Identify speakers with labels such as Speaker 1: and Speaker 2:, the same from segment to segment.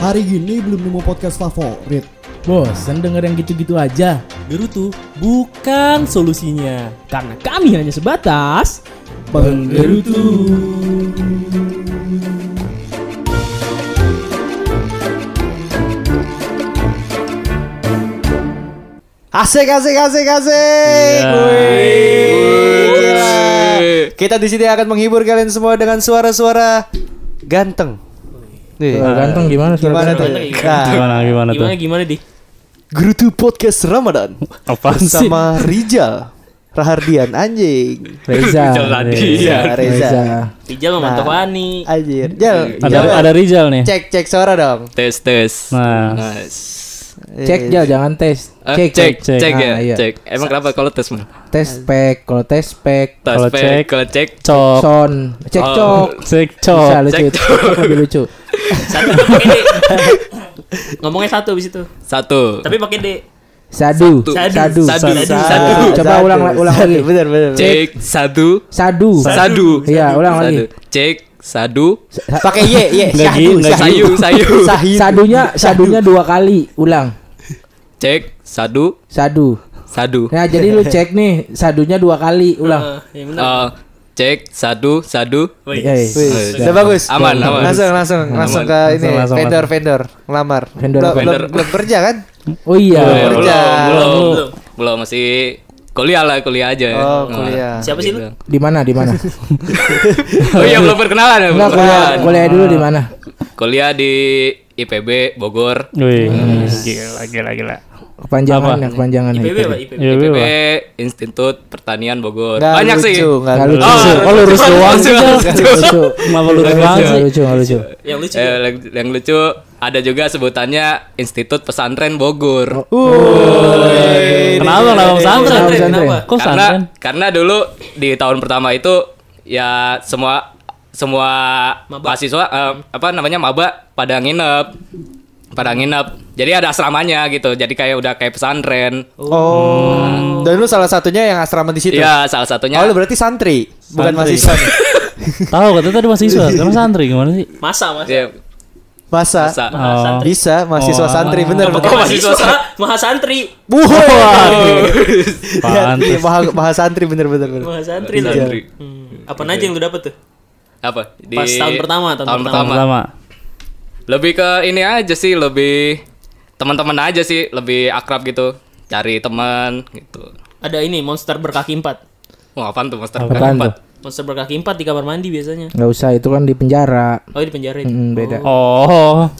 Speaker 1: Hari gini belum nemu podcast favorit.
Speaker 2: Bosan denger yang gitu-gitu aja.
Speaker 3: Gerutu bukan solusinya.
Speaker 2: Karena kami hanya sebatas
Speaker 1: Penggerutu. Asik asik asik asik.
Speaker 2: Iya.
Speaker 1: Wih, gila. Kita di sini akan menghibur kalian semua dengan suara-suara ganteng. Nih,
Speaker 3: Oh, Ah,
Speaker 4: Ganteng gimana sih?
Speaker 1: gimana tuh? Nah,
Speaker 4: Gimana gimana tuh?
Speaker 3: Gimana gimana di?
Speaker 1: Gerutu Podcast Ramadan
Speaker 4: Apa sih?
Speaker 1: bersama Rijal Rahardian anjing.
Speaker 4: Reza.
Speaker 3: Rizal tadi.
Speaker 4: Reza.
Speaker 1: Iya, Reza.
Speaker 3: Ijal
Speaker 5: Oh,
Speaker 3: sama
Speaker 1: Nah.
Speaker 3: Mantovani.
Speaker 1: Anjir. Jal,
Speaker 4: Ada
Speaker 1: Jal,
Speaker 4: ada Rizal nih.
Speaker 1: cek cek suara dong.
Speaker 5: tes tes
Speaker 4: Nah,
Speaker 5: nice
Speaker 4: cek aja jangan tes.
Speaker 5: Eh, cek cek cek,
Speaker 4: Ah,
Speaker 5: ya
Speaker 4: iya.
Speaker 5: cek emang kenapa kalau tes mah
Speaker 4: Tes pack, kalau tes pack,
Speaker 5: tes
Speaker 4: kalau
Speaker 5: pe-
Speaker 4: cek
Speaker 5: kalau cek
Speaker 4: cok,
Speaker 2: Cok.
Speaker 4: son, cek
Speaker 5: Oh.
Speaker 4: cok.
Speaker 2: Cek
Speaker 4: Bisa
Speaker 2: cok.
Speaker 4: lucu,
Speaker 5: Cek cok.
Speaker 4: cok lebih lucu.
Speaker 3: Satu pakai D. Ngomongnya satu abis itu.
Speaker 5: satu
Speaker 3: Tapi pakai D.
Speaker 4: Sadu,
Speaker 5: Satu. Sadu.
Speaker 4: sadu, sadu,
Speaker 1: Eh,
Speaker 5: Sadu.
Speaker 4: Coba
Speaker 1: Sadu.
Speaker 4: ulang ulang
Speaker 1: Sadu,
Speaker 4: lagi.
Speaker 1: Bener bener. bener.
Speaker 5: cek sadu
Speaker 4: Sadu,
Speaker 5: sadu
Speaker 4: Iya, ulang lagi.
Speaker 5: Sadu. cek sadu
Speaker 1: Pakai ye ye.
Speaker 4: Nggak
Speaker 1: Syahdu,
Speaker 4: gini, nggak
Speaker 1: syahdu.
Speaker 5: sayu sayu
Speaker 1: Sahih.
Speaker 4: Sadunya, sadunya dua kali, ulang.
Speaker 5: cek sadu
Speaker 4: Sadu.
Speaker 5: sadu
Speaker 4: Nah, jadi lu cek nih, sadunya dua kali, ulang.
Speaker 3: Eh, ya benar.
Speaker 5: Eh, cek sadu sadu
Speaker 3: Woi.
Speaker 4: Iya, iya.
Speaker 1: Wih, Udah bagus.
Speaker 5: Aman, aman.
Speaker 1: Langsung langsung langsung ke ini
Speaker 4: Langsung, langsung,
Speaker 1: vendor vendor ngelamar.
Speaker 4: Vendor
Speaker 1: Belum-
Speaker 4: apa?
Speaker 1: Belum belum kerja kan?
Speaker 4: Oh
Speaker 5: Eh,
Speaker 4: iya.
Speaker 1: Belum.
Speaker 5: belum belum
Speaker 3: Belum.
Speaker 5: belum masih kuliah lah kuliah aja
Speaker 1: Oh,
Speaker 5: Nah,
Speaker 1: kuliah.
Speaker 3: Siapa sih lu?
Speaker 5: gitu.
Speaker 4: Di mana? Di mana?
Speaker 5: oh iya belum perkenalan ya,
Speaker 4: Enggak
Speaker 5: belum
Speaker 4: kuliah,
Speaker 5: perkenalan.
Speaker 4: kuliah dulu di mana?
Speaker 5: kuliah di IPB Bogor
Speaker 2: Wih.
Speaker 4: Kepanjangannya, kepanjangannya.
Speaker 3: IPB apa? IPB.
Speaker 2: Iya,
Speaker 5: IPB
Speaker 2: wih.
Speaker 5: Institut Pertanian Bogor
Speaker 1: Nggak
Speaker 5: banyak sih
Speaker 1: lucu, nggak
Speaker 4: Nggak
Speaker 1: lucu.
Speaker 4: lucu.
Speaker 5: Oh,
Speaker 4: Oh, lurus
Speaker 5: lucu.
Speaker 4: doang.
Speaker 5: Lucu.
Speaker 4: Nggak lucu.
Speaker 2: Kenapa lu
Speaker 5: Lucu.
Speaker 2: doang
Speaker 4: Nggak
Speaker 2: sih?
Speaker 4: lucu, nggak lucu.
Speaker 3: Yang lucu.
Speaker 5: Eh, yang, yang lucu ada juga sebutannya Institut Pesantren Bogor.
Speaker 1: Oh,
Speaker 2: Kenapa kenapa pesantren?
Speaker 4: Kenapa pesantren?
Speaker 2: Kok
Speaker 5: karena
Speaker 2: pesantren?
Speaker 5: karena dulu di tahun pertama itu ya semua semua
Speaker 3: Maba.
Speaker 5: mahasiswa eh, apa namanya maba pada nginep pada nginep. Jadi ada asramanya gitu. Jadi kayak udah kayak pesantren.
Speaker 1: Oh. Dan lu salah satunya yang asrama di situ.
Speaker 5: Iya, salah satunya
Speaker 1: Oh, lu berarti santri, bukan
Speaker 2: Santri.
Speaker 1: mahasiswa.
Speaker 2: Tahu katanya tadi mahasiswa, sekarang santri gimana sih?
Speaker 3: Masa masa.
Speaker 5: Iya,
Speaker 1: Masa?
Speaker 5: masa.
Speaker 2: Oh.
Speaker 1: Bisa, mahasiswa
Speaker 2: Oh.
Speaker 1: santri bener bener.
Speaker 3: Bukan
Speaker 5: Oh,
Speaker 3: mahasiswa,
Speaker 5: mahasiswa.
Speaker 3: maha santri.
Speaker 1: Iya,
Speaker 2: Pantes.
Speaker 1: iya, maha, maha santri bener bener. bener.
Speaker 3: Maha santri
Speaker 1: Iya.
Speaker 3: lah. Hmm. Apa aja yang lu dapet tuh?
Speaker 5: Apa? Di
Speaker 3: Pas tahun pertama, tahun pertama.
Speaker 2: Pertama.
Speaker 5: lebih ke ini aja sih lebih teman-teman aja sih lebih akrab gitu cari teman gitu
Speaker 3: Ada ini monster berkaki empat.
Speaker 5: wah apaan tuh monster
Speaker 4: Apaan
Speaker 5: empat
Speaker 4: tuh?
Speaker 3: Monster berkaki empat di kamar mandi biasanya.
Speaker 4: Nggak usah, itu kan di penjara.
Speaker 3: Oh di penjara itu.
Speaker 4: Mm, beda.
Speaker 2: Oh.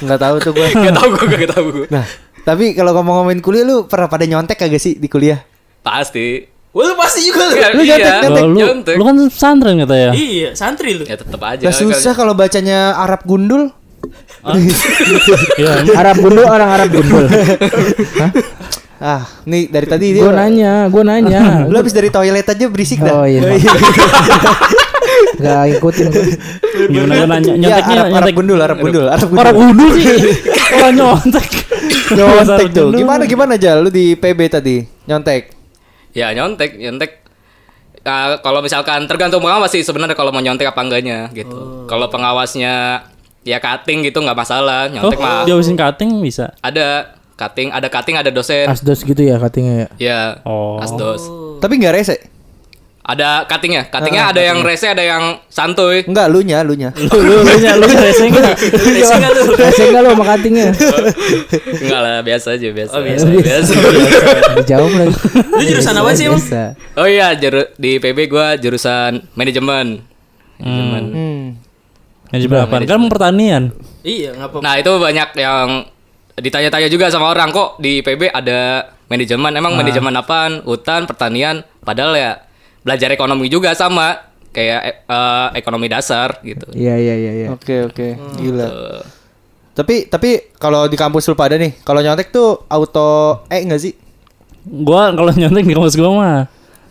Speaker 1: Nggak tahu tuh gua.
Speaker 5: gak tau gue gak tau gue
Speaker 1: Nah, tapi kalau ngomong-ngomongin kuliah lu pernah pada nyontek kagak sih di kuliah?
Speaker 5: pasti
Speaker 3: Wah lu pasti juga lu.
Speaker 5: Iya,
Speaker 1: lu
Speaker 5: iya.
Speaker 1: nyantek,
Speaker 2: Loh, lu, lu kan pesantren katanya.
Speaker 3: Iya, santri lu.
Speaker 5: ya tetep aja
Speaker 1: Gak susah kalau bacanya Arab gundul.
Speaker 2: Iya.
Speaker 4: Arab gundul orang Arab gundul.
Speaker 1: Ah, nih dari tadi dia.
Speaker 4: Gue nanya, gue nanya.
Speaker 1: Lu habis dari toilet aja berisik dah.
Speaker 4: Oh iya. Gak ikutin gua.
Speaker 2: Gimana gua nanya?
Speaker 1: Iya,
Speaker 2: Nyonteknya
Speaker 1: Arab, Arab
Speaker 2: nyontek.
Speaker 1: gundul, Arab gundul, Arab gundul.
Speaker 2: Orang udu sih. Orang nyontek.
Speaker 1: nyontek tuh.
Speaker 2: Gundul.
Speaker 1: Gimana gimana aja lu di PB tadi? Nyontek.
Speaker 5: ya nyontek nyontek Nah, kalau misalkan tergantung pengawas sih sebenarnya kalau mau nyontek apa enggaknya
Speaker 3: Oh.
Speaker 5: gitu kalau pengawasnya ya cutting gitu nggak masalah
Speaker 2: Oh,
Speaker 5: nyontek mah
Speaker 2: dihabisin cutting bisa.
Speaker 5: ada cutting ada cutting ada dosen
Speaker 4: Asdos gitu ya katanya ya.
Speaker 5: ya
Speaker 2: Oh.
Speaker 5: asdos
Speaker 1: Tapi nggak rese.
Speaker 5: ada cuttingnya cuttingnya ada yang rese ada yang santuy
Speaker 1: Enggak, lu nya, lu nya.
Speaker 2: Lu lu lu lu racing enggak?
Speaker 4: Kasih enggak Eh, lo sama katingnya?
Speaker 5: Enggak lah, biasa aja, biasa. Oh,
Speaker 3: biasa,
Speaker 5: biasa.
Speaker 4: Dijawab lagi.
Speaker 3: Lu jurusan apa sih, Bang?
Speaker 4: Biasa.
Speaker 5: oh iya, juru- di PB gua jurusan manajemen. Manajemen.
Speaker 1: Hmm.
Speaker 2: Yang berapa? Kan pertanian.
Speaker 3: Iya, ngapa?
Speaker 5: Nah, itu banyak yang ditanya-tanya juga sama orang kok di PB ada manajemen. Emang manajemen apaan? Hutan, pertanian, padahal ya belajar ekonomi juga sama kayak eh, eh, ekonomi dasar gitu.
Speaker 4: Iya iya iya iya.
Speaker 1: Oke, oke. Gila. Tapi tapi kalau di kampus lu pada nih, kalau nyontek tuh auto eh enggak sih?
Speaker 2: Gua kalau nyontek di kampus gua mah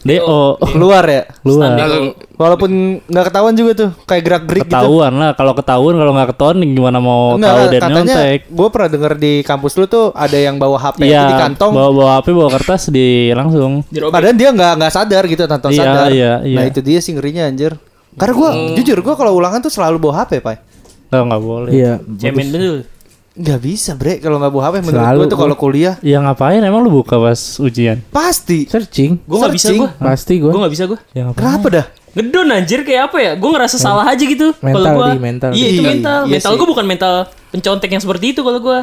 Speaker 2: DO.
Speaker 1: Keluar ya.
Speaker 2: Luar.
Speaker 5: Langsung
Speaker 1: Walaupun nggak ketahuan juga tuh, kayak gerak-gerik gitu.
Speaker 2: Ketahuan lah kalau ketahuan kalau nggak ketahuan gimana mau tahu
Speaker 1: Enggak,
Speaker 2: dia
Speaker 1: katanya
Speaker 2: nyontek.
Speaker 1: gue pernah denger di kampus lu tuh ada yang bawa
Speaker 3: gitu
Speaker 1: HP itu di
Speaker 2: Iya,
Speaker 1: kantong.
Speaker 2: bawa bawa HP, bawa kertas di langsung.
Speaker 1: Padahal dia nggak nggak sadar gitu tanpa
Speaker 2: Iya,
Speaker 1: sadar.
Speaker 2: iya, iya.
Speaker 1: Nah itu dia sih ngerinya anjir.
Speaker 3: Hmm.
Speaker 1: Karena gue jujur gue kalau ulangan tuh selalu bawa HP pak.
Speaker 2: Enggak enggak boleh.
Speaker 4: Iya.
Speaker 3: Cemen betul.
Speaker 1: Gak bisa bre kalau nggak buah HP menurut
Speaker 4: Selalu.
Speaker 1: gue tuh kalau kuliah
Speaker 2: Ya ngapain emang lu buka pas ujian?
Speaker 1: pasti.
Speaker 4: Searching.
Speaker 3: Gue nggak bisa
Speaker 1: Searching.
Speaker 3: gue.
Speaker 4: Pasti
Speaker 3: Gue
Speaker 4: gue.
Speaker 3: nggak bisa gue.
Speaker 2: Ya ngapain?
Speaker 1: Kenapa dah?
Speaker 3: Ngedon anjir kayak apa ya? Gue ngerasa salah aja gitu.
Speaker 4: Mental,
Speaker 3: kalau gua.
Speaker 4: Di, mental,
Speaker 3: Iya
Speaker 1: Di.
Speaker 3: itu mental.
Speaker 1: Iya
Speaker 3: mental
Speaker 1: sih.
Speaker 3: gue bukan mental pencontek yang seperti itu kalau gue.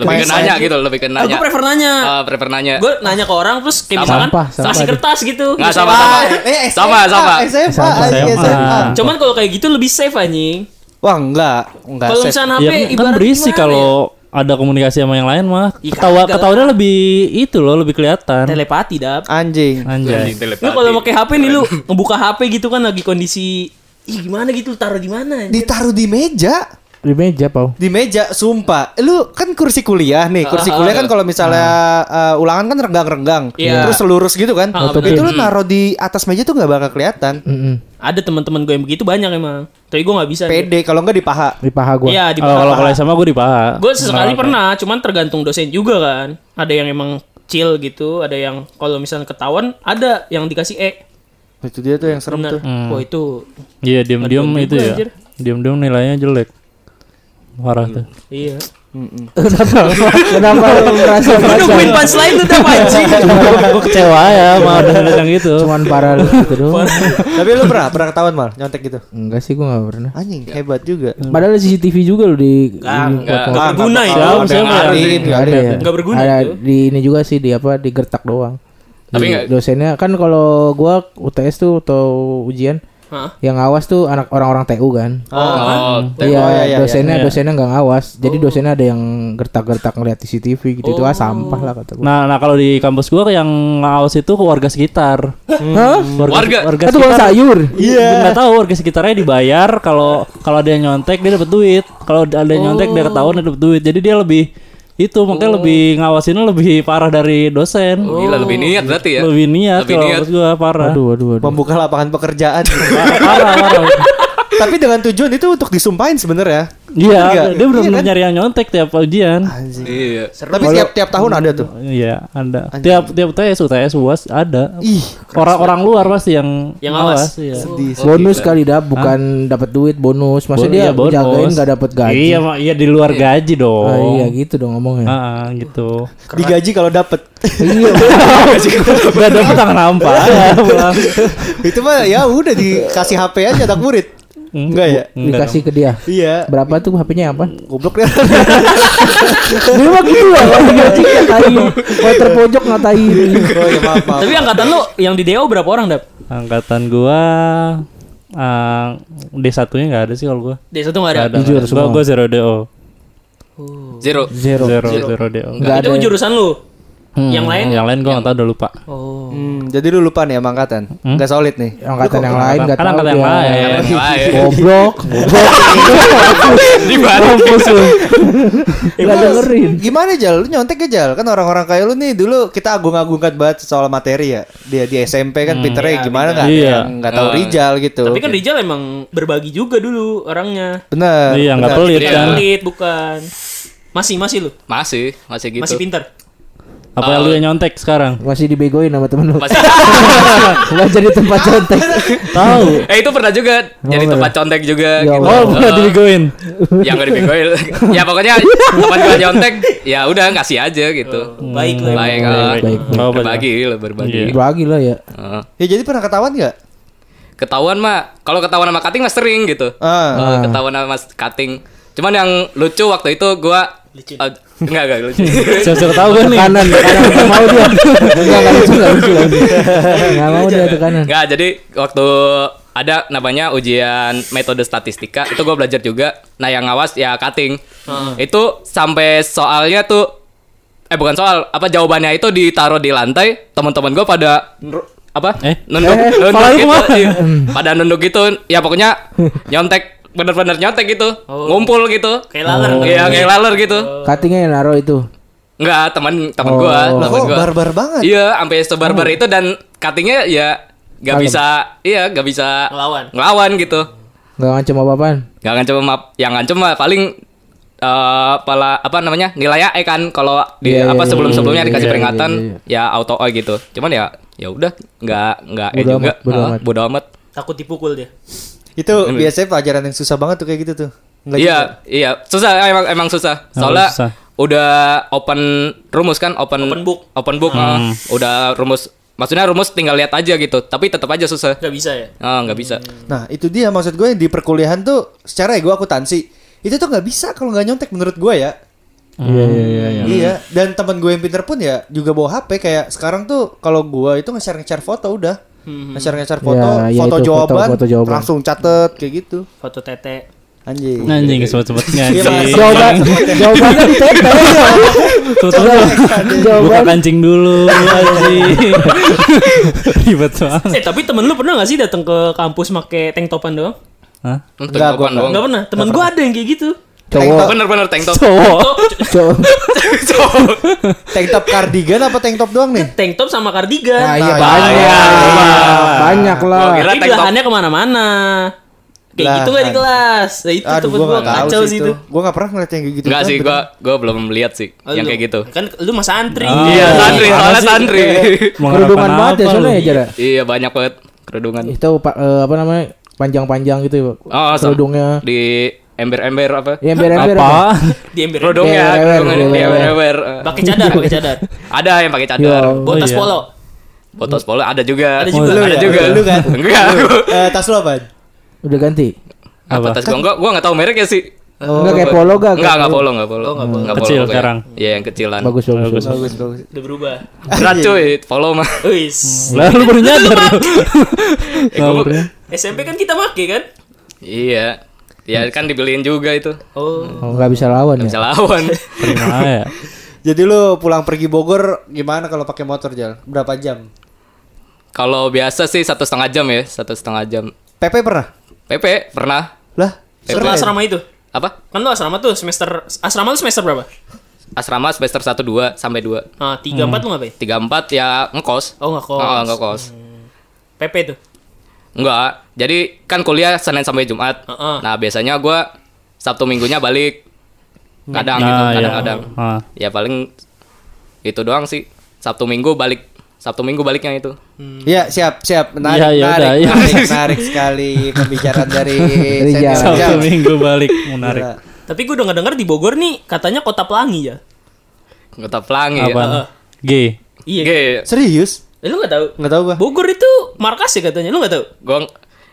Speaker 5: Lebih ke
Speaker 1: Mindset.
Speaker 5: nanya gitu, lebih ke nanya.
Speaker 3: Aku prefer nanya.
Speaker 5: Ah, prefer nanya.
Speaker 3: gue nanya ke orang terus kayak
Speaker 5: Sampah,
Speaker 3: misalkan
Speaker 4: sampah
Speaker 3: kasih
Speaker 4: deh.
Speaker 3: kertas gitu.
Speaker 5: Nggak sama-sama.
Speaker 1: Eh, SMA,
Speaker 5: Sama-sama.
Speaker 1: SMA,
Speaker 4: Sama,
Speaker 3: Ah, iya,
Speaker 1: anjing,
Speaker 2: sama.
Speaker 1: SMA.
Speaker 3: Cuman kalau kayak gitu lebih safe anjing.
Speaker 1: Wah enggak, enggak
Speaker 3: Kalau
Speaker 1: safe.
Speaker 3: misalnya HP
Speaker 2: Ya kan- kan
Speaker 3: ibarat
Speaker 2: berisik
Speaker 3: gimana ya? Iya,
Speaker 2: kalau ada komunikasi sama yang lain mah.
Speaker 3: Ih,
Speaker 2: Ketawa
Speaker 3: kagak
Speaker 2: ketawanya lebih itu loh, lebih kelihatan.
Speaker 3: telepati dap.
Speaker 1: anjing.
Speaker 2: Anjay.
Speaker 3: Lu kalau pakai HP nih lu ngebuka HP gitu kan lagi kondisi Ih gimana gitu lu taruh di mana? anjing?
Speaker 1: Ditaruh di meja.
Speaker 4: Di meja pau.
Speaker 1: di meja sumpah lu kan kursi kuliah nih kursi
Speaker 3: Ah,
Speaker 1: kuliah kan kalau misalnya uh, ulangan kan renggang-renggang
Speaker 3: Iya.
Speaker 1: terus lurus gitu kan
Speaker 3: Ah,
Speaker 1: itu lu taruh di atas meja tuh nggak bakal kelihatan
Speaker 4: Mm-mm.
Speaker 3: Ada teman-teman gue yang begitu banyak emang. Tapi gue nggak bisa. anjing.
Speaker 1: pede kalau nggak di paha
Speaker 4: Di paha gue.
Speaker 3: Iya di
Speaker 2: Oh, kalau
Speaker 3: paha.
Speaker 2: kalau sama gue di paha.
Speaker 3: Gue sesekali pernah, cuman tergantung dosen juga kan. Ada yang emang chill gitu, ada yang kalau misalnya ketahuan ada yang dikasih E.
Speaker 1: itu dia tuh yang serem
Speaker 3: Bener.
Speaker 1: tuh
Speaker 2: Hmm.
Speaker 3: Wah itu
Speaker 2: Iya, diam-diam
Speaker 3: Ngedown
Speaker 2: itu
Speaker 3: juga,
Speaker 2: ya.
Speaker 3: anjir.
Speaker 2: Diam-diam nilainya jelek. Parah tuh.
Speaker 3: iya.
Speaker 4: Kenapa lu merasa
Speaker 3: Lu
Speaker 4: merasa?
Speaker 3: nungguin punchline lu udah anjing.
Speaker 2: gue kecewa ya sama dosen-dosen yang gitu.
Speaker 4: Cuman parah lu gitu doang.
Speaker 1: tapi lu pernah pernah ketahuan mal nyontek gitu
Speaker 4: Enggak sih gue gak pernah.
Speaker 1: anjing hebat juga
Speaker 4: Padahal ada CCTV juga lu di
Speaker 3: Enggak,
Speaker 5: Nggak,
Speaker 3: enggak berguna
Speaker 1: nggak
Speaker 3: itu.
Speaker 1: bakal ada yang
Speaker 2: Siapa- siapa?
Speaker 1: ngarin,
Speaker 4: Gak ada ya.
Speaker 3: Nggak berguna
Speaker 4: Ada
Speaker 3: itu.
Speaker 4: di ini juga sih di apa di gertak doang.
Speaker 5: Tapi
Speaker 4: Di
Speaker 5: nggak-
Speaker 4: dosennya kan kalau gua UTS tuh atau ujian
Speaker 3: Hah?
Speaker 4: yang ngawas tuh anak orang-orang TU kan.
Speaker 5: Oh,
Speaker 4: Iya,
Speaker 1: Oh, iya, iya,
Speaker 4: dosennya
Speaker 2: iya.
Speaker 4: dosennya nggak ngawas. Jadi dosennya ada yang gertak-gertak ngeliat di CCTV gitu itu ah sampah lah kata gua.
Speaker 2: Nah, nah kalau di kampus gua yang ngawas itu warga sekitar.
Speaker 4: Hah?
Speaker 5: Warga?
Speaker 2: warga
Speaker 4: Kan tukang
Speaker 2: sekitar. Iya.
Speaker 4: sayur.
Speaker 2: Nggak tahu warga sekitarnya dibayar kalau kalau ada yang nyontek dia dapat duit. Kalau ada yang nyontek dia ketahuan dia dapat duit. Jadi dia lebih itu makanya lebih ngawasinnya lebih parah dari dosen.
Speaker 5: Oh, gila lebih niat berarti ya.
Speaker 2: Lebih niat
Speaker 5: Lebih
Speaker 2: kalau
Speaker 5: niat.
Speaker 2: menurut gua parah.
Speaker 4: Aduh, aduh, aduh.
Speaker 1: membuka lapangan pekerjaan
Speaker 2: parah, parah.
Speaker 1: tapi dengan tujuan itu untuk disumpahin sebenarnya
Speaker 2: Iya,
Speaker 1: Iya,
Speaker 2: dia benar
Speaker 1: iya
Speaker 2: benar
Speaker 1: kan?
Speaker 2: nyari yang nyontek tiap ujian.
Speaker 1: anjing
Speaker 5: Iya.
Speaker 1: tapi tiap tiap tahun ada tuh
Speaker 2: Iya, ada. Tiap tiap UTS, UTS, UAS ada.
Speaker 1: ih
Speaker 2: Orang-orang luar pasti yang
Speaker 3: Yang ngawas.
Speaker 2: iya.
Speaker 1: sedih
Speaker 4: bonus kali dah bukan dapat duit bonus. Maksudnya
Speaker 2: Bon-
Speaker 4: dia
Speaker 2: iya, bonus.
Speaker 4: jagain nggak dapat gaji.
Speaker 2: Iya, Mak. iya di luar gaji dong.
Speaker 4: Ah, iya gitu dong ngomongnya. Iya,
Speaker 2: Ah, ah, gitu.
Speaker 1: digaji kalau dapet
Speaker 2: Gak ah, gitu. dapet tangan hampa.
Speaker 1: Nah. itu mah ya udah dikasih HP aja anak murid enggak ya
Speaker 4: Dikasih ke dia.
Speaker 1: iya
Speaker 4: Berapa tuh HP-nya apa?
Speaker 1: goblok deh
Speaker 4: Dia mah gitu lah kalau gaji ngatain. Kalau terpojok ngatain.
Speaker 1: oh ya maaf maaf
Speaker 3: Tapi angkatan lu yang di DO berapa orang, Dap?
Speaker 2: Angkatan gua eh, D1-nya gak ada sih kalau gua.
Speaker 3: D1 enggak ada.
Speaker 2: Nggak ada.
Speaker 4: Jujur
Speaker 2: Gua-
Speaker 4: semua.
Speaker 2: Gua zero DO.
Speaker 5: Zero.
Speaker 4: Zero.
Speaker 2: Zero, zero DO.
Speaker 4: Nggak
Speaker 3: Itu
Speaker 4: ada.
Speaker 3: jurusan lu.
Speaker 2: Hmm,
Speaker 3: Yang lain?
Speaker 2: Yang lain gua gak tau udah lupa.
Speaker 3: Oh.
Speaker 1: Hmm, jadi lu lupa nih sama angkatan nggak solid nih
Speaker 4: Angkatan yang lain enggak
Speaker 2: Kan
Speaker 4: tahu.
Speaker 2: angkatan yang
Speaker 4: dia.
Speaker 5: Eh,
Speaker 2: lain.
Speaker 5: Lain.
Speaker 4: Goblok.
Speaker 5: iya. Di mana?
Speaker 4: Enggak dengerin.
Speaker 1: Gimana Jal? Lu nyontek ya Jal? Kan orang-orang kayak lu nih dulu kita agung-agungkan banget soal materi ya. Dia di SMP kan pinternya gimana nggak? ada
Speaker 2: Iya.
Speaker 1: yang Nggak tahu Rijal gitu.
Speaker 3: Tapi kan Rijal emang berbagi juga dulu orangnya.
Speaker 1: Bener.
Speaker 2: Iya, gak pelit
Speaker 5: Iya.
Speaker 2: kan.
Speaker 3: Pelit bukan. Masih masih lu.
Speaker 5: Masih, masih gitu.
Speaker 3: Masih pintar.
Speaker 2: Apa lu yang nyontek sekarang?
Speaker 4: Masih dibegoin sama temen lu.
Speaker 5: Masih-
Speaker 4: Enggak jadi tempat contek.
Speaker 2: Tahu.
Speaker 5: eh itu pernah juga jadi tempat contek juga
Speaker 4: Ya
Speaker 5: gitu.
Speaker 2: Oh, pernah dibegoin.
Speaker 5: yang gak dibegoin. ya pokoknya tempat gua nyontek, ya udah kasih aja gitu.
Speaker 3: Oh, Baik lah. emang.
Speaker 5: Baik, ah.
Speaker 2: baik, baik. Nggak apa-apa.
Speaker 5: berbagi, lah, berbagi.
Speaker 4: Bagi lah ya.
Speaker 5: Ah.
Speaker 1: Ya jadi pernah ketahuan nggak?
Speaker 5: Ketahuan mah, kalau ketahuan sama cutting mah sering gitu.
Speaker 1: Ah.
Speaker 5: Eh, ketahuan sama cutting. Cuman yang lucu waktu itu gua
Speaker 3: Lucu.
Speaker 5: Eh, enggak enggak lucu.
Speaker 2: Siapa-siapa tahu gua nih.
Speaker 4: Kanan, kanan nggak mau dia. Enggak enggak lucu, enggak lucu. Enggak mau dia tekanan.
Speaker 5: Enggak, jadi waktu ada namanya ujian metode statistika itu gue belajar juga. Nah yang ngawas ya cutting. Itu sampai soalnya tuh eh bukan soal apa jawabannya itu ditaruh di lantai teman-teman gue pada apa
Speaker 2: Eh?
Speaker 5: nunduk,
Speaker 2: Eh,
Speaker 5: nunduk
Speaker 2: kepala lu
Speaker 5: gitu,
Speaker 2: kemana?
Speaker 5: iya. pada nunduk gitu ya pokoknya nyontek bener-bener nyontek gitu ngumpul gitu
Speaker 3: Kayak kan? laler. Oh.
Speaker 5: Iya, kayak laler gitu
Speaker 4: Katingnya yang naro itu.
Speaker 5: Enggak, teman teman gue
Speaker 1: Lah
Speaker 5: teman
Speaker 1: kok
Speaker 5: gue
Speaker 1: barbar banget.
Speaker 5: Oh Iya, sampai sebarbar itu dan cuttingnya ya nggak bisa, iya nggak bisa
Speaker 3: Ngelawan.
Speaker 5: ngelawan gitu.
Speaker 4: Enggak ngancam apa-apaan.
Speaker 5: Nggak ngancem map, yang ngancem mah paling eh pala apa namanya nilai E kan kalau di
Speaker 4: Iya, iya,
Speaker 5: apa
Speaker 4: iya,
Speaker 5: sebelum sebelumnya
Speaker 4: iya,
Speaker 5: dikasih
Speaker 4: iya,
Speaker 5: peringatan
Speaker 4: iya,
Speaker 5: ya auto E gitu. Cuman ya ya udah nggak nggak E
Speaker 4: Bodo
Speaker 5: juga,
Speaker 4: amat, bodo
Speaker 5: Ah,
Speaker 4: amat.
Speaker 5: bodo amat.
Speaker 3: Takut dipukul dia.
Speaker 1: Itu biasanya pelajaran yang susah banget tuh kayak gitu tuh. Nggak
Speaker 5: iya, iya. Susah emang emang susah.
Speaker 2: Emang
Speaker 5: Soalnya
Speaker 2: susah.
Speaker 5: udah open rumus kan, open
Speaker 3: Open book.
Speaker 5: open book. eh.
Speaker 4: Hmm.
Speaker 5: udah rumus. Maksudnya rumus tinggal lihat aja gitu, tapi tetap aja susah.
Speaker 3: Gak bisa ya?
Speaker 5: Ah, nggak bisa.
Speaker 1: Nah itu dia maksud gue di perkuliahan tuh secara ego akuntansi itu tuh nggak bisa kalau nggak nyontek menurut gue ya.
Speaker 2: Iya iya iya.
Speaker 1: Iya. Dan teman gue yang pinter pun ya juga bawa HP kayak sekarang tuh kalau gue itu nge-share nge-share foto udah. Nge-share nge-share foto,
Speaker 4: Ya,
Speaker 1: foto,
Speaker 4: ya itu, foto-
Speaker 1: jawaban,
Speaker 4: foto jawaban.
Speaker 1: langsung catet kayak gitu.
Speaker 3: Foto tete.
Speaker 1: Anjing.
Speaker 2: Anjing sempat-sempat
Speaker 1: Iya,
Speaker 2: ngaji.
Speaker 4: Jawaban jawabannya di TP.
Speaker 2: Buka
Speaker 4: Jawaban
Speaker 2: kancing dulu anjing. Ribet banget.
Speaker 3: Eh tapi temen lu pernah gak sih datang ke kampus make tank topan doang?
Speaker 2: Hah?
Speaker 5: Tank
Speaker 1: Nggak,
Speaker 5: topan
Speaker 1: gua
Speaker 5: doang.
Speaker 3: Gak pernah. Temen gue ada yang kayak gitu.
Speaker 1: Tank
Speaker 4: cowok
Speaker 1: top,
Speaker 5: Bener-bener tank top.
Speaker 2: Cowok.
Speaker 4: cowok.
Speaker 1: tank top cardigan apa tank top doang nih?
Speaker 3: Tank top sama kardigan.
Speaker 4: Nah, iya
Speaker 1: Nah,
Speaker 4: banyak. Banyak lah.
Speaker 5: Gua kira
Speaker 3: Jadi
Speaker 5: tank top.
Speaker 3: belahannya kemana-mana. Kayak
Speaker 1: Lah,
Speaker 3: gitu gak di
Speaker 1: aduh.
Speaker 3: kelas. Nah itu
Speaker 1: Aduh,
Speaker 3: temen
Speaker 1: gue
Speaker 3: gue
Speaker 1: nggak
Speaker 3: kacau
Speaker 1: tahu sih itu.
Speaker 3: itu.
Speaker 1: Gue nggak pernah ngeliat yang kayak gitu.
Speaker 5: Enggak sih,
Speaker 1: Bener.
Speaker 5: gua gua belum lihat sih yang
Speaker 3: Lu-
Speaker 5: kayak gitu.
Speaker 3: Kan lu mas antri.
Speaker 2: Oh,
Speaker 5: Iya, santri,
Speaker 2: Mana
Speaker 5: soalnya
Speaker 2: Ah, sih?
Speaker 5: santri.
Speaker 2: Mengharapkan
Speaker 4: Kerudungan banget ya
Speaker 2: apa lu?
Speaker 4: soalnya ya Jara.
Speaker 5: Iya, banyak banget kerudungan.
Speaker 4: Itu Pak, eh, apa namanya? Panjang-panjang gitu ya.
Speaker 5: Oh, sama.
Speaker 1: Iya.
Speaker 4: Kerudungnya.
Speaker 5: di ember-ember apa?
Speaker 4: Ya ember-ember.
Speaker 2: Apa?
Speaker 4: apa?
Speaker 3: Di ember.
Speaker 5: Kerudungnya,
Speaker 1: Iya,
Speaker 4: Ember-ember,
Speaker 5: kerudungan di
Speaker 4: ember-ember.
Speaker 5: ember-ember. Eh,
Speaker 3: Pakai cadar, pakai cadar.
Speaker 5: Ada yang pakai cadar.
Speaker 4: Yo.
Speaker 2: Oh,
Speaker 3: Botas
Speaker 2: iya.
Speaker 3: polo.
Speaker 5: Botos polo ada juga.
Speaker 3: Ada juga.
Speaker 5: Ada
Speaker 1: Lu ya?
Speaker 5: juga.
Speaker 1: Lu kan?
Speaker 5: Enggak.
Speaker 1: Eh, tas lu apa?
Speaker 4: Udah ganti.
Speaker 5: Apa
Speaker 2: Apa?
Speaker 5: tas gua enggak gua enggak tahu mereknya sih.
Speaker 1: Oh.
Speaker 4: Enggak kayak polo gak?
Speaker 5: Enggak, enggak polo, enggak
Speaker 3: Oh,
Speaker 5: polo. Enggak polo
Speaker 2: Kecil
Speaker 5: pokoknya.
Speaker 2: sekarang.
Speaker 5: Iya, yang kecilan.
Speaker 4: Bagus bagus.
Speaker 1: Bagus
Speaker 4: bagus.
Speaker 1: Iya. bagus.
Speaker 3: Udah berubah.
Speaker 5: Berat cuy, polo mah.
Speaker 3: Wis.
Speaker 2: Lah lu baru nyadar.
Speaker 5: Eh, gua-
Speaker 3: SMP kan kita make kan?
Speaker 5: Iya. Ya kan dibeliin juga itu.
Speaker 3: Oh.
Speaker 4: Oh, nggak bisa lawan
Speaker 5: Bisa
Speaker 4: ya.
Speaker 5: lawan.
Speaker 2: Terima ya.
Speaker 1: Jadi lu pulang pergi Bogor gimana kalau pakai motor Jal? Berapa jam?
Speaker 5: Kalau biasa sih satu setengah jam ya, satu setengah jam.
Speaker 1: PP pernah?
Speaker 5: PP pernah
Speaker 1: Lah,
Speaker 3: Setelah asrama itu.
Speaker 5: apa?
Speaker 3: Kan lu asrama tuh semester asrama lu semester berapa?
Speaker 5: Asrama semester 1 2 sampai 2.
Speaker 3: Ah, 3
Speaker 2: Hmm.
Speaker 3: 4 lu ngapain?
Speaker 5: 3 4 ya ngekos.
Speaker 3: Oh, enggak kok.
Speaker 5: Oh, enggak kos.
Speaker 3: PP tuh.
Speaker 5: Enggak. Jadi kan kuliah Senin sampai Jumat.
Speaker 3: Heeh.
Speaker 5: Nah, biasanya gua Sabtu Minggunya balik. Kadang gitu,
Speaker 2: Nah, ya.
Speaker 5: kadang-kadang.
Speaker 2: Ah.
Speaker 5: Ya paling itu doang sih. Sabtu Minggu balik. Sabtu Minggu baliknya itu.
Speaker 1: Iya siap siap menarik
Speaker 2: Iya, iya,
Speaker 1: menarik,
Speaker 2: udah, iya.
Speaker 1: menarik, menarik sekali pembicaraan dari
Speaker 4: Dari
Speaker 1: senior
Speaker 4: Jal.
Speaker 1: Jal.
Speaker 2: Sabtu minggu balik menarik.
Speaker 1: Gila.
Speaker 3: Tapi gue udah denger di Bogor nih katanya kota pelangi ya.
Speaker 5: Kota
Speaker 4: Iya.
Speaker 5: Pelangi
Speaker 2: Apa?
Speaker 5: ya.
Speaker 2: G.
Speaker 3: Iya.
Speaker 5: Oke,
Speaker 1: Serius?
Speaker 3: Eh, Lu gak tahu?
Speaker 1: Nggak tahu gua.
Speaker 3: Bogor itu markas ya katanya. Lu gak tahu?
Speaker 5: gua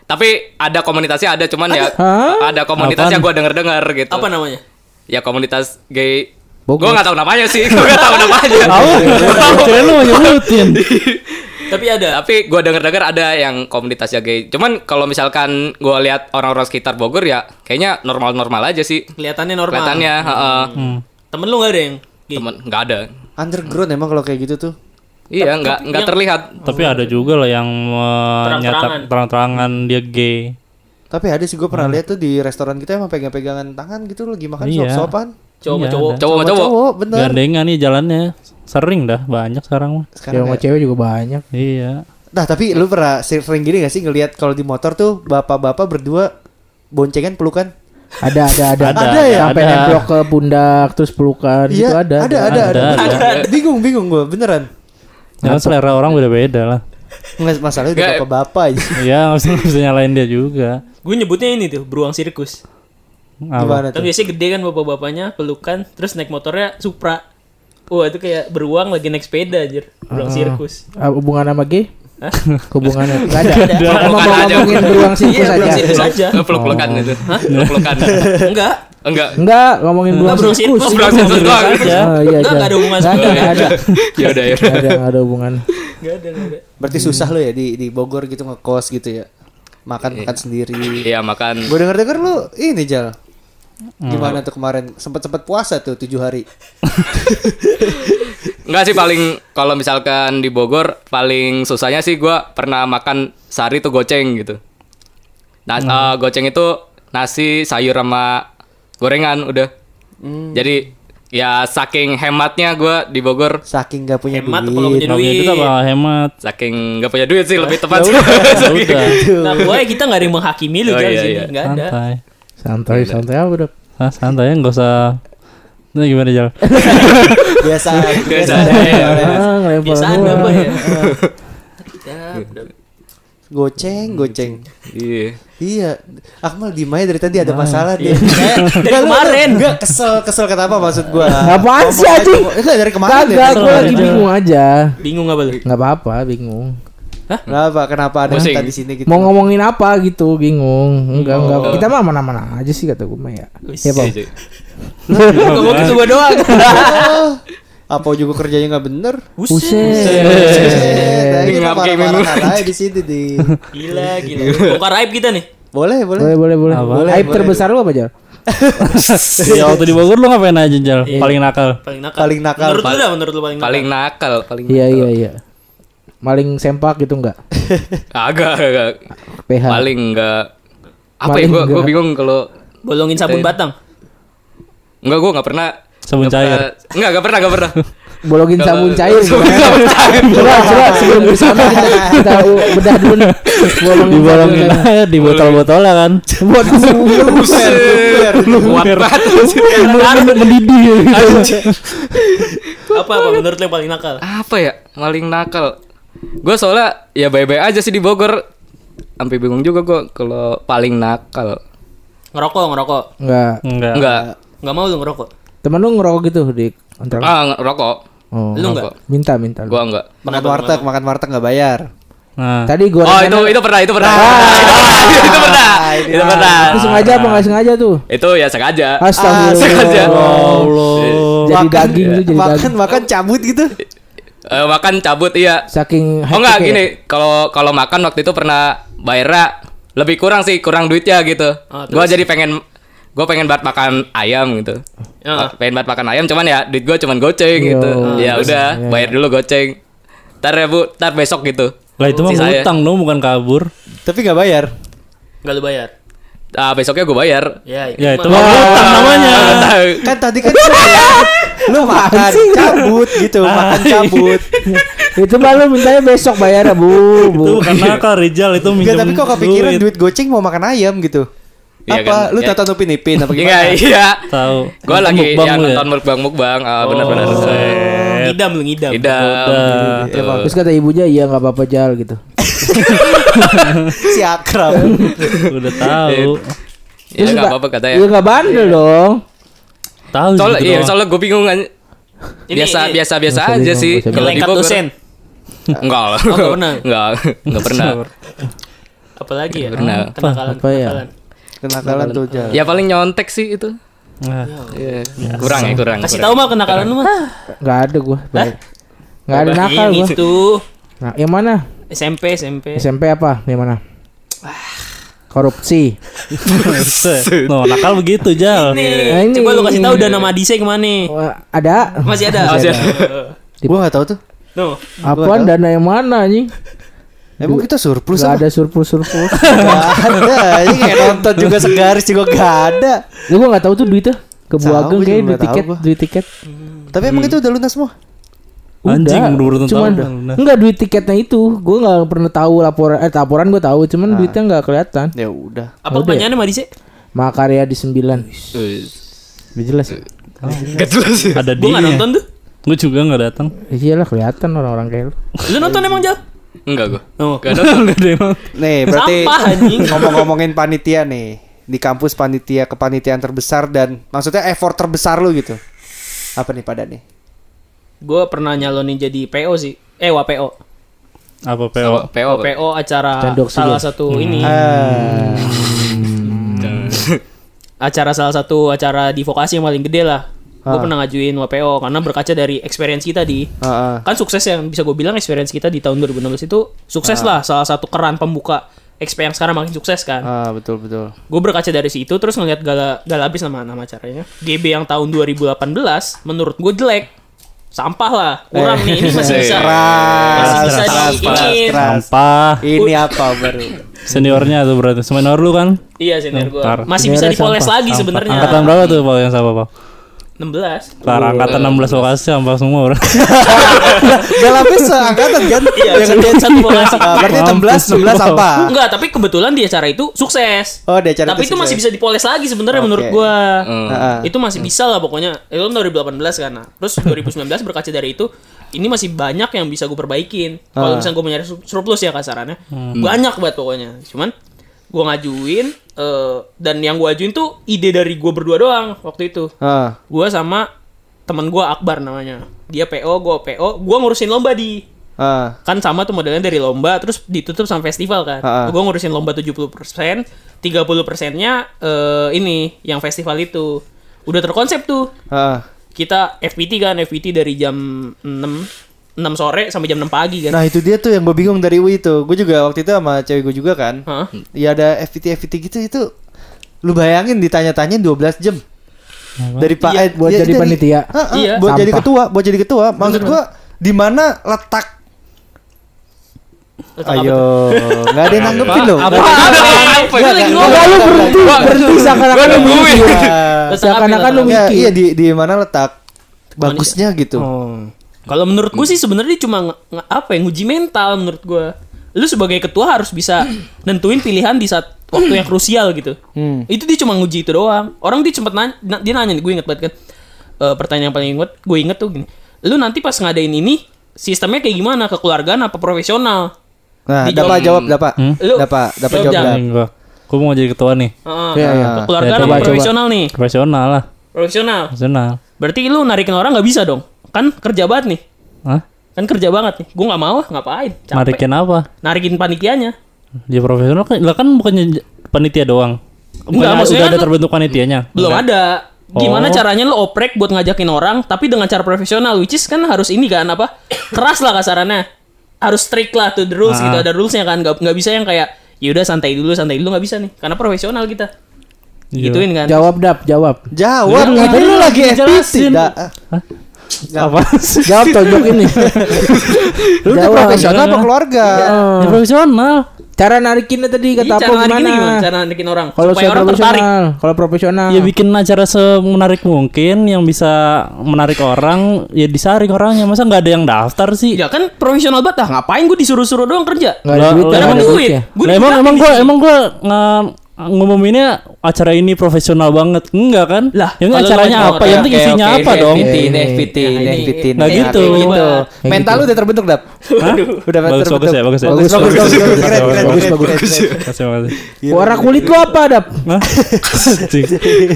Speaker 5: tapi ada komunitasnya ada cuman ya
Speaker 4: Hah?
Speaker 5: ada komunitas yang
Speaker 2: Apaan?
Speaker 5: gua denger-dengar gitu.
Speaker 3: Apa namanya?
Speaker 5: Ya komunitas gay.
Speaker 4: Bogor.
Speaker 5: Gua nggak tahu namanya sih, gua nggak tahu namanya.
Speaker 2: Tahu? Kira lu mau nyebutin.
Speaker 3: Tapi ada
Speaker 5: Tapi gua denger-dengar ada yang komunitasnya gay. Cuman kalau misalkan gua lihat orang-orang sekitar Bogor ya kayaknya normal-normal aja sih.
Speaker 3: kelihatannya normal. Hmm.
Speaker 5: Kelihatannya, heeh.
Speaker 3: Temen lu gak ada yang gay?
Speaker 5: Temen nggak ada.
Speaker 1: Underground emang kalau kayak gitu tuh.
Speaker 5: Iya, nggak nggak terlihat.
Speaker 2: Tapi ada juga loh yang menyatakan terang-terangan dia gay.
Speaker 1: Tapi ada sih gue pernah lihat tuh di restoran kita emang pegang-pegangan tangan gitu lagi makan
Speaker 2: Hmm. Iya.
Speaker 1: suap-suapan.
Speaker 3: Cowok
Speaker 2: Iya,
Speaker 3: cowok.
Speaker 5: Cowok sama
Speaker 1: Sama
Speaker 5: cowok.
Speaker 1: cowok, bener.
Speaker 2: Gandengan nih jalannya. Sering dah banyak sekarang mah.
Speaker 4: Cewek sama
Speaker 1: Sekarang ya.
Speaker 4: cewek juga banyak.
Speaker 2: Iya.
Speaker 1: Nah tapi lu pernah sering gini gak sih ngelihat kalau di motor tuh bapak-bapak berdua boncengan pelukan?
Speaker 4: Ada ada ada.
Speaker 2: Ada,
Speaker 1: ya?
Speaker 4: Sampai
Speaker 2: ada.
Speaker 4: nemplok ke pundak terus pelukan gitu ada.
Speaker 1: Iya, ada ada ada.
Speaker 2: Ada,
Speaker 1: Bingung bingung gue beneran.
Speaker 2: Jangan selera orang beda-beda lah.
Speaker 1: Nggak masalahnya udah
Speaker 5: Nggak.
Speaker 1: bapak-bapak aja.
Speaker 2: Iya, nggak bisa, nggak bisa nyalain dia juga.
Speaker 3: Gue nyebutnya ini tuh beruang sirkus.
Speaker 2: Apa?
Speaker 1: Gimana
Speaker 3: Kan
Speaker 1: tuh?
Speaker 3: biasanya gede kan bapak-bapaknya pelukan, terus naik motornya Supra. Wah itu kayak beruang lagi naik sepeda anjir. Beruang sirkus.
Speaker 4: Ah, hubungan sama G? Hubungannya enggak ada.
Speaker 3: Nggak ada.
Speaker 4: Emang
Speaker 5: Bukan
Speaker 4: mau
Speaker 5: aja.
Speaker 4: ngomongin beruang
Speaker 3: Iya,
Speaker 4: sirkus
Speaker 3: beruang
Speaker 4: aja.
Speaker 3: sirkus aja.
Speaker 5: Peluk-pelukan itu. Peluk-pelukan.
Speaker 3: Enggak.
Speaker 5: gitu. Enggak.
Speaker 4: Enggak, ngomongin
Speaker 3: Enggak
Speaker 4: beruang
Speaker 3: beruang
Speaker 4: sirkus.
Speaker 3: sirkus.
Speaker 5: Beruang sirkus doang.
Speaker 4: Ah, iya,
Speaker 3: Enggak,
Speaker 4: iya.
Speaker 3: enggak ada hubungan
Speaker 4: Enggak ada,
Speaker 3: sama
Speaker 4: enggak ada.
Speaker 5: Ya udah ya. udah.
Speaker 4: Enggak ada, enggak ada hubungan.
Speaker 3: Enggak ada, enggak ada.
Speaker 4: Hmm.
Speaker 1: Berarti susah lo ya di di Bogor gitu ngekos gitu ya. Makan makan sendiri.
Speaker 5: Iya makan.
Speaker 1: Gue denger denger lu ini Jal.
Speaker 4: Hmm.
Speaker 1: Gimana tuh kemarin? Sempet sempet puasa tuh tujuh hari.
Speaker 5: Enggak sih paling kalau misalkan di Bogor paling susahnya sih gua pernah makan sehari tuh goceng gitu. Nah,
Speaker 4: Hmm.
Speaker 5: eh, goceng itu nasi sayur sama gorengan udah.
Speaker 4: Hmm.
Speaker 5: Jadi ya saking hematnya gua di Bogor
Speaker 1: Saking gak punya
Speaker 3: Hemat
Speaker 1: duit.
Speaker 3: kalau punya
Speaker 2: Nggak punya
Speaker 3: duit.
Speaker 2: duit apa hemat?
Speaker 5: saking nggak punya duit sih lebih tepat sih.
Speaker 2: Ya udah,
Speaker 3: Nah, gue kita nggak ada yang menghakimi lu
Speaker 5: Oh,
Speaker 3: Jal, di
Speaker 5: iya,
Speaker 3: sini.
Speaker 5: iya.
Speaker 3: Enggak ada.
Speaker 2: santai.
Speaker 4: Santai, santai apa, Dok?
Speaker 2: Hah, santai nggak usah. Nah, gimana jalan?
Speaker 1: Biasa. biasa.
Speaker 4: ya.
Speaker 5: Biasa.
Speaker 3: ya.
Speaker 4: Ah, ngelempar
Speaker 3: Biasa ada
Speaker 4: doang.
Speaker 3: apa ya?
Speaker 1: Goceng,
Speaker 4: Hmm,
Speaker 1: goceng.
Speaker 5: Iya.
Speaker 1: Iya, Akmal di Maya dari tadi ada
Speaker 4: Nah,
Speaker 1: masalah dia.
Speaker 4: iya.
Speaker 3: Dari kemarin.
Speaker 1: Enggak kesel, kesel kenapa maksud gua?
Speaker 4: Apaan sih,
Speaker 1: Ngomong aja,
Speaker 4: anjing?
Speaker 1: ngomong- Enggak dari kemarin ya.
Speaker 4: Kagak, gue lagi bingung aja.
Speaker 3: Bingung apa lu?
Speaker 4: Nggak apa-apa, bingung.
Speaker 1: Kenapa? Kenapa ada
Speaker 5: Pusing.
Speaker 1: kita di sini gitu?
Speaker 4: Mau ngomongin apa gitu, bingung. Enggak,
Speaker 5: Oh.
Speaker 4: enggak. Kita mah mana-mana aja sih kata gue mah ya. Ya, Bang.
Speaker 5: Iya, cuy.
Speaker 3: Ngomong ke gua doang.
Speaker 1: Apa juga kerjanya nggak bener?
Speaker 4: Buset.
Speaker 1: Eh,
Speaker 5: Ini
Speaker 1: kita
Speaker 5: ngap kayak
Speaker 1: marah-marahan aja di sini di.
Speaker 3: Gila, gila. Bongkar aib kita nih.
Speaker 1: Boleh, boleh.
Speaker 4: Boleh, boleh,
Speaker 5: Ah,
Speaker 4: boleh.
Speaker 2: Apa?
Speaker 1: Boleh,
Speaker 4: Aib
Speaker 1: boleh.
Speaker 4: terbesar lu apa, Jal?
Speaker 2: Ya waktu di Bogor lu ngapain aja Jal? Paling nakal.
Speaker 3: Paling nakal.
Speaker 1: Paling nakal.
Speaker 3: Menurut lu dah, menurut lu paling nakal.
Speaker 5: Paling nakal, paling.
Speaker 4: Iya, iya, iya. Maling sempak gitu enggak?
Speaker 5: Agak, agak.
Speaker 4: PH.
Speaker 5: Paling enggak. Apa
Speaker 4: Paling
Speaker 5: ya gua gua
Speaker 4: nggak.
Speaker 5: bingung kalau
Speaker 3: Bolongin sabun batang.
Speaker 5: enggak gua enggak pernah
Speaker 2: Sabun
Speaker 5: nggak
Speaker 2: cair.
Speaker 5: pernah- Enggak, enggak pernah, enggak pernah.
Speaker 4: Bolongin
Speaker 5: Kalau-
Speaker 4: sabun cair.
Speaker 5: Sabun
Speaker 4: gimana?
Speaker 5: cair.
Speaker 4: Coba, coba sebelum kesana kita, kita bedah dulu nih. Bolongin sabun
Speaker 2: Dibolongin
Speaker 4: cair.
Speaker 2: aja di botol-botol ya kan.
Speaker 4: Buat
Speaker 5: Buset. Kuat banget.
Speaker 2: Mendidih.
Speaker 3: Apa apa menurut lu yang paling nakal?
Speaker 5: Apa ya? Paling nakal. Gua soalnya ya bye-bye aja sih di Bogor. Sampai bingung juga gua kalau paling nakal.
Speaker 3: Ngerokok, ngerokok.
Speaker 4: Enggak.
Speaker 2: Enggak.
Speaker 5: Enggak.
Speaker 3: Enggak mau lu ngerokok.
Speaker 4: Temen lu ngerokok gitu di kontrakan?
Speaker 5: Ah, nggak- rokok.
Speaker 4: Oh.
Speaker 3: Lu enggak?
Speaker 4: Minta, minta.
Speaker 5: Gua enggak.
Speaker 1: Makan warteg, makan warteg nggak bayar.
Speaker 2: Nah.
Speaker 4: Tadi gua
Speaker 5: Oh, itu itu pernah, itu pernah. Itu pernah. Itu pernah. Itu pernah.
Speaker 4: Itu sengaja apa nggak sengaja tuh?
Speaker 5: Itu ya sengaja. Ah. Sengaja. Oh,
Speaker 4: Astagfirullah.
Speaker 2: Allah.
Speaker 4: Jadi daging tuh jadi
Speaker 1: makan,
Speaker 4: daging.
Speaker 1: makan cabut gitu.
Speaker 5: Eh, makan cabut iya.
Speaker 4: Saking
Speaker 5: Oh enggak
Speaker 4: hektiknya. ya.
Speaker 5: gini, kalau kalau makan waktu itu pernah bayar lebih kurang sih, kurang duitnya gitu.
Speaker 3: Ah, terus?
Speaker 5: gua jadi pengen gua pengen banget makan ayam gitu.
Speaker 3: Ah.
Speaker 5: Ma- Pengen banget makan ayam cuman ya duit gua cuman goceng gitu. ya udah, bayar dulu goceng. Ntar ya Bu, ntar besok gitu.
Speaker 2: Lah itu mah
Speaker 5: Sisa ya.
Speaker 2: ngutang dong bukan kabur.
Speaker 1: Tapi nggak bayar.
Speaker 3: Enggak lu bayar.
Speaker 5: Ah, besoknya gua bayar.
Speaker 3: Ya, itu.
Speaker 2: Ya itu
Speaker 3: mah.
Speaker 2: mah ngutang namanya.
Speaker 1: Kan tadi kan lu makan cabut gitu, makan cabut.
Speaker 4: Itu malu mintanya besok bayar ya, Bu. Bu.
Speaker 2: Itu bukan nakal Rijal itu
Speaker 1: Enggak,
Speaker 2: minjem.
Speaker 1: tapi kok kepikiran duit goceng mau makan ayam gitu.
Speaker 5: Iya
Speaker 1: apa
Speaker 5: kan,
Speaker 1: lu
Speaker 5: ya.
Speaker 1: tata nupin ipin apa
Speaker 5: Iya,
Speaker 1: gimana?
Speaker 5: iya.
Speaker 2: Tahu.
Speaker 5: Gua lagi
Speaker 2: Mukbang
Speaker 5: yang
Speaker 2: lu ya?
Speaker 5: nonton mukbang mukbang, ah, Iya, benar-benar.
Speaker 3: Oh.
Speaker 2: Oh.
Speaker 3: Ngidam lu ngidam.
Speaker 5: Tidak.
Speaker 4: Terus kata ibunya iya nggak apa-apa Jal gitu.
Speaker 1: si akrab.
Speaker 2: Udah tahu.
Speaker 5: Ya enggak apa-apa katanya.
Speaker 4: Iya nggak bandel dong.
Speaker 2: Tahu
Speaker 5: Soalnya
Speaker 2: gitu
Speaker 5: iya,
Speaker 2: doang.
Speaker 5: soalnya gue bingung kan.
Speaker 3: Ini-
Speaker 5: Biasa
Speaker 3: ini-
Speaker 5: biasa biasa
Speaker 4: Nggak usah
Speaker 5: aja
Speaker 4: bingung,
Speaker 5: sih.
Speaker 4: nggak
Speaker 5: Kalau
Speaker 4: usah
Speaker 5: gitu di
Speaker 3: Lengkap
Speaker 5: Bogor
Speaker 3: dosen.
Speaker 5: enggak lah.
Speaker 3: nggak pernah.
Speaker 5: Enggak, enggak pernah.
Speaker 3: Apalagi ya?
Speaker 5: Pernah.
Speaker 3: Kenakalan.
Speaker 4: Apa ya?
Speaker 3: kenakalan.
Speaker 1: Kenakalan tuh jalan.
Speaker 5: Ya
Speaker 4: Iya.
Speaker 5: paling nyontek sih itu.
Speaker 2: Nah,
Speaker 5: Iya, Kurang ya, kurang.
Speaker 3: Kasih
Speaker 5: kurang.
Speaker 3: tahu mah kenakalan lu mah.
Speaker 4: Nggak ada gua. Ah. Nggak ada nakal
Speaker 3: Yang
Speaker 4: gua.
Speaker 3: itu
Speaker 4: Nah, yang mana?
Speaker 3: SMP, SMP.
Speaker 4: SMP apa? Yang mana? Korupsi.
Speaker 2: no, Nah, nakal begitu Jal.
Speaker 4: Nah,
Speaker 3: Nih,
Speaker 4: ini-
Speaker 3: Eh, coba lu kasih tahu dana Madise kemana?
Speaker 4: Wah, ada?
Speaker 3: Masih ada.
Speaker 5: Masih
Speaker 1: Gua nggak tahu tuh.
Speaker 3: Tuh.
Speaker 4: Apaan dana yang mana anjing?
Speaker 1: Emang kita surplus
Speaker 4: Gak
Speaker 1: apa?
Speaker 4: ada surplus-surplus.
Speaker 1: Gak ada. Ini kayak nonton juga segaris juga gak ada.
Speaker 4: Lu gua enggak tahu tuh duitnya. Ke Buageng
Speaker 1: Sama, gua
Speaker 4: kayaknya
Speaker 1: juga
Speaker 4: duit
Speaker 1: nggak tahu
Speaker 4: tiket,
Speaker 1: gua.
Speaker 4: duit tiket.
Speaker 1: Tapi emang
Speaker 5: Hmm.
Speaker 1: itu udah lunas semua.
Speaker 2: Anjing, udah beruntun
Speaker 4: cuman
Speaker 2: tahun, udah.
Speaker 4: enggak duit tiketnya itu. Gua nggak pernah tahu laporan eh laporan gua tahu, cuman duitnya nggak kelihatan.
Speaker 1: Ya udah.
Speaker 3: Apa kebanyaannya Madise?
Speaker 4: Makarya di 9.
Speaker 5: Eh,
Speaker 4: Lebih jelas. ya?
Speaker 5: Enggak jelas. ya.
Speaker 2: Ada
Speaker 3: Gua
Speaker 2: dia.
Speaker 3: nggak nonton tuh.
Speaker 2: Gue juga nggak datang.
Speaker 4: Iyalah kelihatan orang-orang kayak lu.
Speaker 3: Lu nonton emang Jal?
Speaker 5: Enggak gua.
Speaker 3: Oh.
Speaker 5: Enggak ada.
Speaker 2: Nggak ada emang.
Speaker 1: Nih, berarti
Speaker 3: Sampah, anjing.
Speaker 1: ngomong-ngomongin panitia nih. Di kampus panitia kepanitiaan terbesar dan maksudnya effort terbesar lu gitu. Apa nih pada nih?
Speaker 3: Gua pernah nyalonin jadi PO sih. Eh, WPO.
Speaker 2: Apa PO?
Speaker 5: PO. Pak.
Speaker 3: WPO Oh, acara
Speaker 4: Cendok
Speaker 3: salah
Speaker 4: sih,
Speaker 3: satu ini.
Speaker 1: Hmm.
Speaker 3: Hmm.
Speaker 1: Ah,
Speaker 3: Acara salah satu acara di vokasi yang paling gede lah. Gue pernah ngajuin WPO karena berkaca dari experience kita di
Speaker 1: ah, ah.
Speaker 3: kan sukses yang bisa gue bilang experience kita di tahun 2016 itu
Speaker 1: Ah.
Speaker 3: sukses lah salah satu keran pembuka XP yang sekarang makin sukses kan.
Speaker 1: Ah, betul betul.
Speaker 3: Gue berkaca dari situ terus ngeliat gala gala abis nama nama acaranya. GB yang tahun 2018 menurut gue jelek. Sampah lah, kurang nih ini masih bisa. Masih
Speaker 1: Keras,
Speaker 3: bisa
Speaker 1: keras, keras,
Speaker 3: diinin.
Speaker 1: keras.
Speaker 2: Sampah.
Speaker 1: Ini apa baru?
Speaker 2: Seniornya tuh berarti. Senior lu kan?
Speaker 3: Iya senior gue.
Speaker 2: Ntar.
Speaker 3: Masih bisa
Speaker 4: Seniornya
Speaker 3: dipoles
Speaker 4: sampah,
Speaker 3: lagi
Speaker 2: Angkatan
Speaker 3: sebenarnya.
Speaker 2: berapa tuh Pak yang sama Pak?
Speaker 3: 16.
Speaker 2: Kelar angkatan 16 lokasi sampah semua orang.
Speaker 1: Galapis seangkatan kan?
Speaker 3: Iya,
Speaker 1: Yang
Speaker 3: satu-
Speaker 1: dia
Speaker 3: satu vokasi.
Speaker 1: Ah, berarti 16 16 apa?
Speaker 3: Enggak, tapi kebetulan di acara itu sukses.
Speaker 1: Oh, di acara
Speaker 3: tapi itu
Speaker 1: itu
Speaker 3: masih bisa
Speaker 1: sukses.
Speaker 3: dipoles lagi sebenarnya menurut gua.
Speaker 1: Ah, ah.
Speaker 3: Iya. Itu masih bisa lah pokoknya. Itu kan 2018 kan. Nah, terus 2019 berkaca dari itu ini masih banyak yang bisa gue perbaikin.
Speaker 1: Ah.
Speaker 3: Kalau misalnya gue nyari sur- surplus ya kasarannya,
Speaker 1: Hmm.
Speaker 3: banyak banget pokoknya. Cuman gue ngajuin eh, dan yang gue ajuin tuh ide dari gue berdua doang waktu itu.
Speaker 1: Ah.
Speaker 3: Gue sama teman gue Akbar namanya. Dia PO, gue PO, gue ngurusin lomba di
Speaker 1: Ah.
Speaker 3: kan sama tuh modelnya dari lomba terus ditutup sama festival kan.
Speaker 1: Ha-ha.
Speaker 3: Gue ngurusin lomba 70%, 30 persennya eh, ini yang festival itu. Udah terkonsep tuh.
Speaker 1: Ah.
Speaker 3: Kita FPT kan, FPT dari jam 6 6 sore sampai jam 6 pagi kan.
Speaker 1: Nah itu dia tuh yang gue bingung dari UI itu. Gue juga waktu itu sama cewek gue juga kan.
Speaker 3: Hah?
Speaker 1: Ya ada FPT FPT gitu itu. Lu bayangin ditanya-tanya 12 jam. Dari Pak
Speaker 4: Iya,
Speaker 1: eh,
Speaker 4: buat
Speaker 1: dia-
Speaker 4: jadi
Speaker 1: dari-
Speaker 4: panitia.
Speaker 1: Ah, ah,
Speaker 3: Iya.
Speaker 1: Buat jadi
Speaker 4: Sampah.
Speaker 1: ketua, buat jadi ketua. Maksud gue di mana letak
Speaker 3: Letak apa tuh?
Speaker 1: Ayo, nggak ada yang nanggepin loh.
Speaker 5: Apa?
Speaker 1: Nggak ada-
Speaker 5: Apa? Gue lagi
Speaker 1: Nggak,
Speaker 4: Enggak lu
Speaker 1: nggak,
Speaker 4: berhenti,
Speaker 1: nggak,
Speaker 4: berhenti
Speaker 5: Gue
Speaker 4: seakan-akan lu
Speaker 5: nungguin.
Speaker 4: berhenti.
Speaker 1: nggak.
Speaker 3: Letak apa,
Speaker 4: Seakan-akan
Speaker 3: letak
Speaker 4: lu-
Speaker 3: apa?
Speaker 1: Nggak,
Speaker 4: mikir.
Speaker 1: Iya di di mana letak bagusnya gitu.
Speaker 3: Kalau menurut gue sih sebenarnya dia cuma nge- nge- apa ya nguji mental menurut gue. Lu sebagai ketua harus bisa nentuin pilihan di saat waktu yang krusial gitu.
Speaker 2: Hmm.
Speaker 3: Itu dia cuma nguji itu doang. Orang dia cepet nanya, na- dia nanya gue inget banget kan. Eh, pertanyaan yang paling inget, gue inget tuh gini. Lu nanti pas ngadain ini sistemnya kayak gimana? Kekeluargaan apa profesional?
Speaker 1: Nah,
Speaker 3: Dijawab.
Speaker 1: dapat jawab dapat.
Speaker 4: Hmm?
Speaker 3: Lu-
Speaker 1: Dapat, dapat
Speaker 3: Jawab,
Speaker 1: jawab.
Speaker 3: Jang.
Speaker 1: dapat.
Speaker 2: Ini gua. Gua mau jadi ketua nih.
Speaker 3: Heeh.
Speaker 1: Iya, iya.
Speaker 3: Kekeluargaan
Speaker 2: Ya,
Speaker 3: apa
Speaker 2: coba, coba.
Speaker 3: profesional nih?
Speaker 2: Profesional lah.
Speaker 3: Profesional.
Speaker 2: Profesional.
Speaker 3: Berarti lu narikin orang nggak bisa dong. Kan kerja banget nih.
Speaker 2: Hah?
Speaker 3: Kan kerja banget nih. Gue nggak mau ah, ngapain. Capek.
Speaker 2: Narikin apa?
Speaker 3: Narikin panitianya.
Speaker 2: Dia profesional kan lah kan bukannya j- panitia doang.
Speaker 3: Enggak,
Speaker 2: Bukannya
Speaker 3: maksudnya
Speaker 2: udah ada
Speaker 3: kan-
Speaker 2: terbentuk panitianya.
Speaker 3: Belum ada. Gimana
Speaker 2: Oh.
Speaker 3: caranya lo oprek buat ngajakin orang tapi dengan cara profesional which is kan harus ini kan apa? Keras lah kasarannya. Harus strict lah tuh the rules
Speaker 2: Ah.
Speaker 3: gitu ada rulesnya kan nggak nggak bisa yang kayak ya udah santai dulu santai dulu nggak bisa nih karena profesional kita.
Speaker 2: Iya.
Speaker 3: Gituin kan.
Speaker 4: Jawab dap, jawab.
Speaker 1: Jawab, itu lu
Speaker 2: Lu ngapain
Speaker 1: lagi FPT.
Speaker 2: jelasin?
Speaker 1: dah.
Speaker 2: Apa sih?
Speaker 4: Jawab tonjok ini.
Speaker 1: Lu udah
Speaker 4: Jawab.
Speaker 1: profesional apa
Speaker 2: Jangan.
Speaker 1: keluarga?
Speaker 2: Ya,
Speaker 4: Ah.
Speaker 2: profesional.
Speaker 4: Cara narikinnya tadi
Speaker 3: Jadi
Speaker 4: kata apa
Speaker 3: cara narikinnya
Speaker 4: gimana?
Speaker 3: gimana? Cara narikin orang
Speaker 4: Kalau
Speaker 3: supaya
Speaker 4: saya
Speaker 3: orang tertarik. Iya,
Speaker 4: profesional, kalau profesional.
Speaker 2: Ya bikin acara semenarik mungkin yang bisa menarik orang ya disaring orangnya masa nggak ada yang daftar sih?
Speaker 3: Ya kan profesional banget ah ngapain gue disuruh-suruh doang kerja.
Speaker 4: Nggak ada
Speaker 2: Lah,
Speaker 4: duit,
Speaker 2: lah,
Speaker 4: nggak
Speaker 3: Karena
Speaker 4: ada
Speaker 3: emang
Speaker 4: duit
Speaker 3: duit.
Speaker 4: ya.
Speaker 3: Gua
Speaker 2: Lah, emang
Speaker 3: dibilangin
Speaker 2: emang
Speaker 3: di
Speaker 2: gue
Speaker 3: sini.
Speaker 2: emang gue ngumuminnya acara ini profesional banget enggak kan?
Speaker 3: Lah,
Speaker 2: yang
Speaker 5: Kalau lu
Speaker 2: acaranya
Speaker 5: mau-
Speaker 3: ya,
Speaker 2: apa? Yang penting
Speaker 5: oke,
Speaker 2: isinya
Speaker 5: oke,
Speaker 2: apa
Speaker 5: ini
Speaker 2: dong?
Speaker 1: ya, gitu.
Speaker 5: FPT, ini FPT, ini
Speaker 3: Nah,
Speaker 5: FPT.
Speaker 3: ini-
Speaker 1: Nah,
Speaker 2: Kayak
Speaker 1: gitu.
Speaker 2: gitu.
Speaker 1: gitu.
Speaker 4: Kayak
Speaker 1: Mental lu
Speaker 4: gitu.
Speaker 1: udah terbentuk, Dap. Udah
Speaker 2: Bagus,
Speaker 1: terbentuk.
Speaker 2: bagus ya, bagus ya.
Speaker 1: Bagus, bagus,
Speaker 4: Bagus,
Speaker 1: bagus,
Speaker 4: bagus,
Speaker 1: keren,
Speaker 4: bagus,
Speaker 1: keren,
Speaker 4: bagus,
Speaker 1: keren,
Speaker 4: bagus.
Speaker 1: keren, keren.
Speaker 2: Kasih makasih.
Speaker 4: Warna
Speaker 2: Iya,
Speaker 4: kulit lu apa dap?
Speaker 2: Hah? Anjing.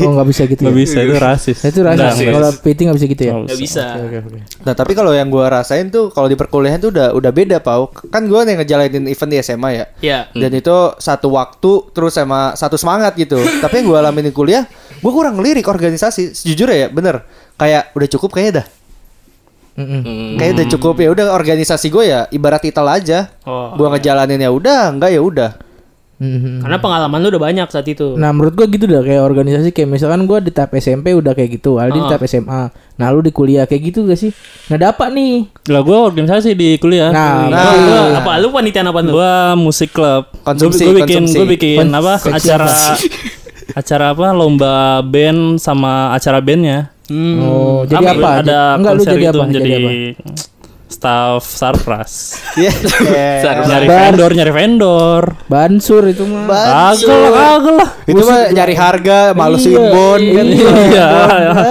Speaker 4: Oh nggak bisa gitu.
Speaker 2: Iya. Nggak
Speaker 4: ya?
Speaker 2: bisa itu rasis.
Speaker 4: Itu rasis.
Speaker 2: Nggak,
Speaker 4: Kalau
Speaker 2: nggak
Speaker 4: PT nggak bisa gitu ya.
Speaker 2: bisa.
Speaker 3: Nggak bisa.
Speaker 4: Oke, oke.
Speaker 1: Nah, tapi kalau yang gua rasain tuh kalau di perkuliahan tuh udah udah beda, Pau. Kan gua yang ngejalanin event di SMA ya.
Speaker 2: Iya.
Speaker 3: Ya.
Speaker 1: Dan
Speaker 2: Hmm.
Speaker 1: itu satu waktu terus sama satu semangat gitu. tapi yang gua alamin di kuliah, gua kurang ngelirik organisasi sejujurnya ya, bener. Kayak udah cukup kayaknya dah.
Speaker 4: Mm-mm.
Speaker 2: Hmm.
Speaker 1: Kayaknya udah cukup ya udah organisasi gue ya ibarat titel aja.
Speaker 3: Oh.
Speaker 2: iya.
Speaker 1: Gua ngejalanin ya udah, enggak ya udah.
Speaker 4: Mm-mm.
Speaker 3: Karena pengalaman lu udah banyak saat itu.
Speaker 4: Nah menurut gua gitu dah kayak organisasi kayak misalkan gua di tahap SMP udah kayak gitu, Aldi di
Speaker 3: Ah.
Speaker 4: tahap SMA. Nah lu di kuliah kayak gitu gak sih? Nah dapat nih.
Speaker 2: Lah gue organisasi di kuliah.
Speaker 4: Nah,
Speaker 1: Nah.
Speaker 3: Lu- lu apa lu panitian apa lu?
Speaker 2: Gua musik club.
Speaker 1: Konsumsi,
Speaker 2: Gua- gua bikin
Speaker 1: konsumsi.
Speaker 2: gua bikin apa?
Speaker 4: Konsumsi.
Speaker 2: Acara acara apa? Lomba band sama acara bandnya.
Speaker 4: Oh, jadi
Speaker 2: Rame.
Speaker 4: apa?
Speaker 2: Hmm. Ada
Speaker 4: Enggak lu
Speaker 2: konser
Speaker 4: jadi
Speaker 2: gitu,
Speaker 4: apa?
Speaker 2: Jadi,
Speaker 4: Jadi apa?
Speaker 2: staff Sarpras.
Speaker 1: Iya.
Speaker 2: nyari
Speaker 4: Sarpras.
Speaker 2: vendor, nyari vendor.
Speaker 4: Bansur itu mah.
Speaker 2: Kagel lah, kagel lah.
Speaker 1: Itu mah nyari harga, malu simbon kan.
Speaker 2: Iya.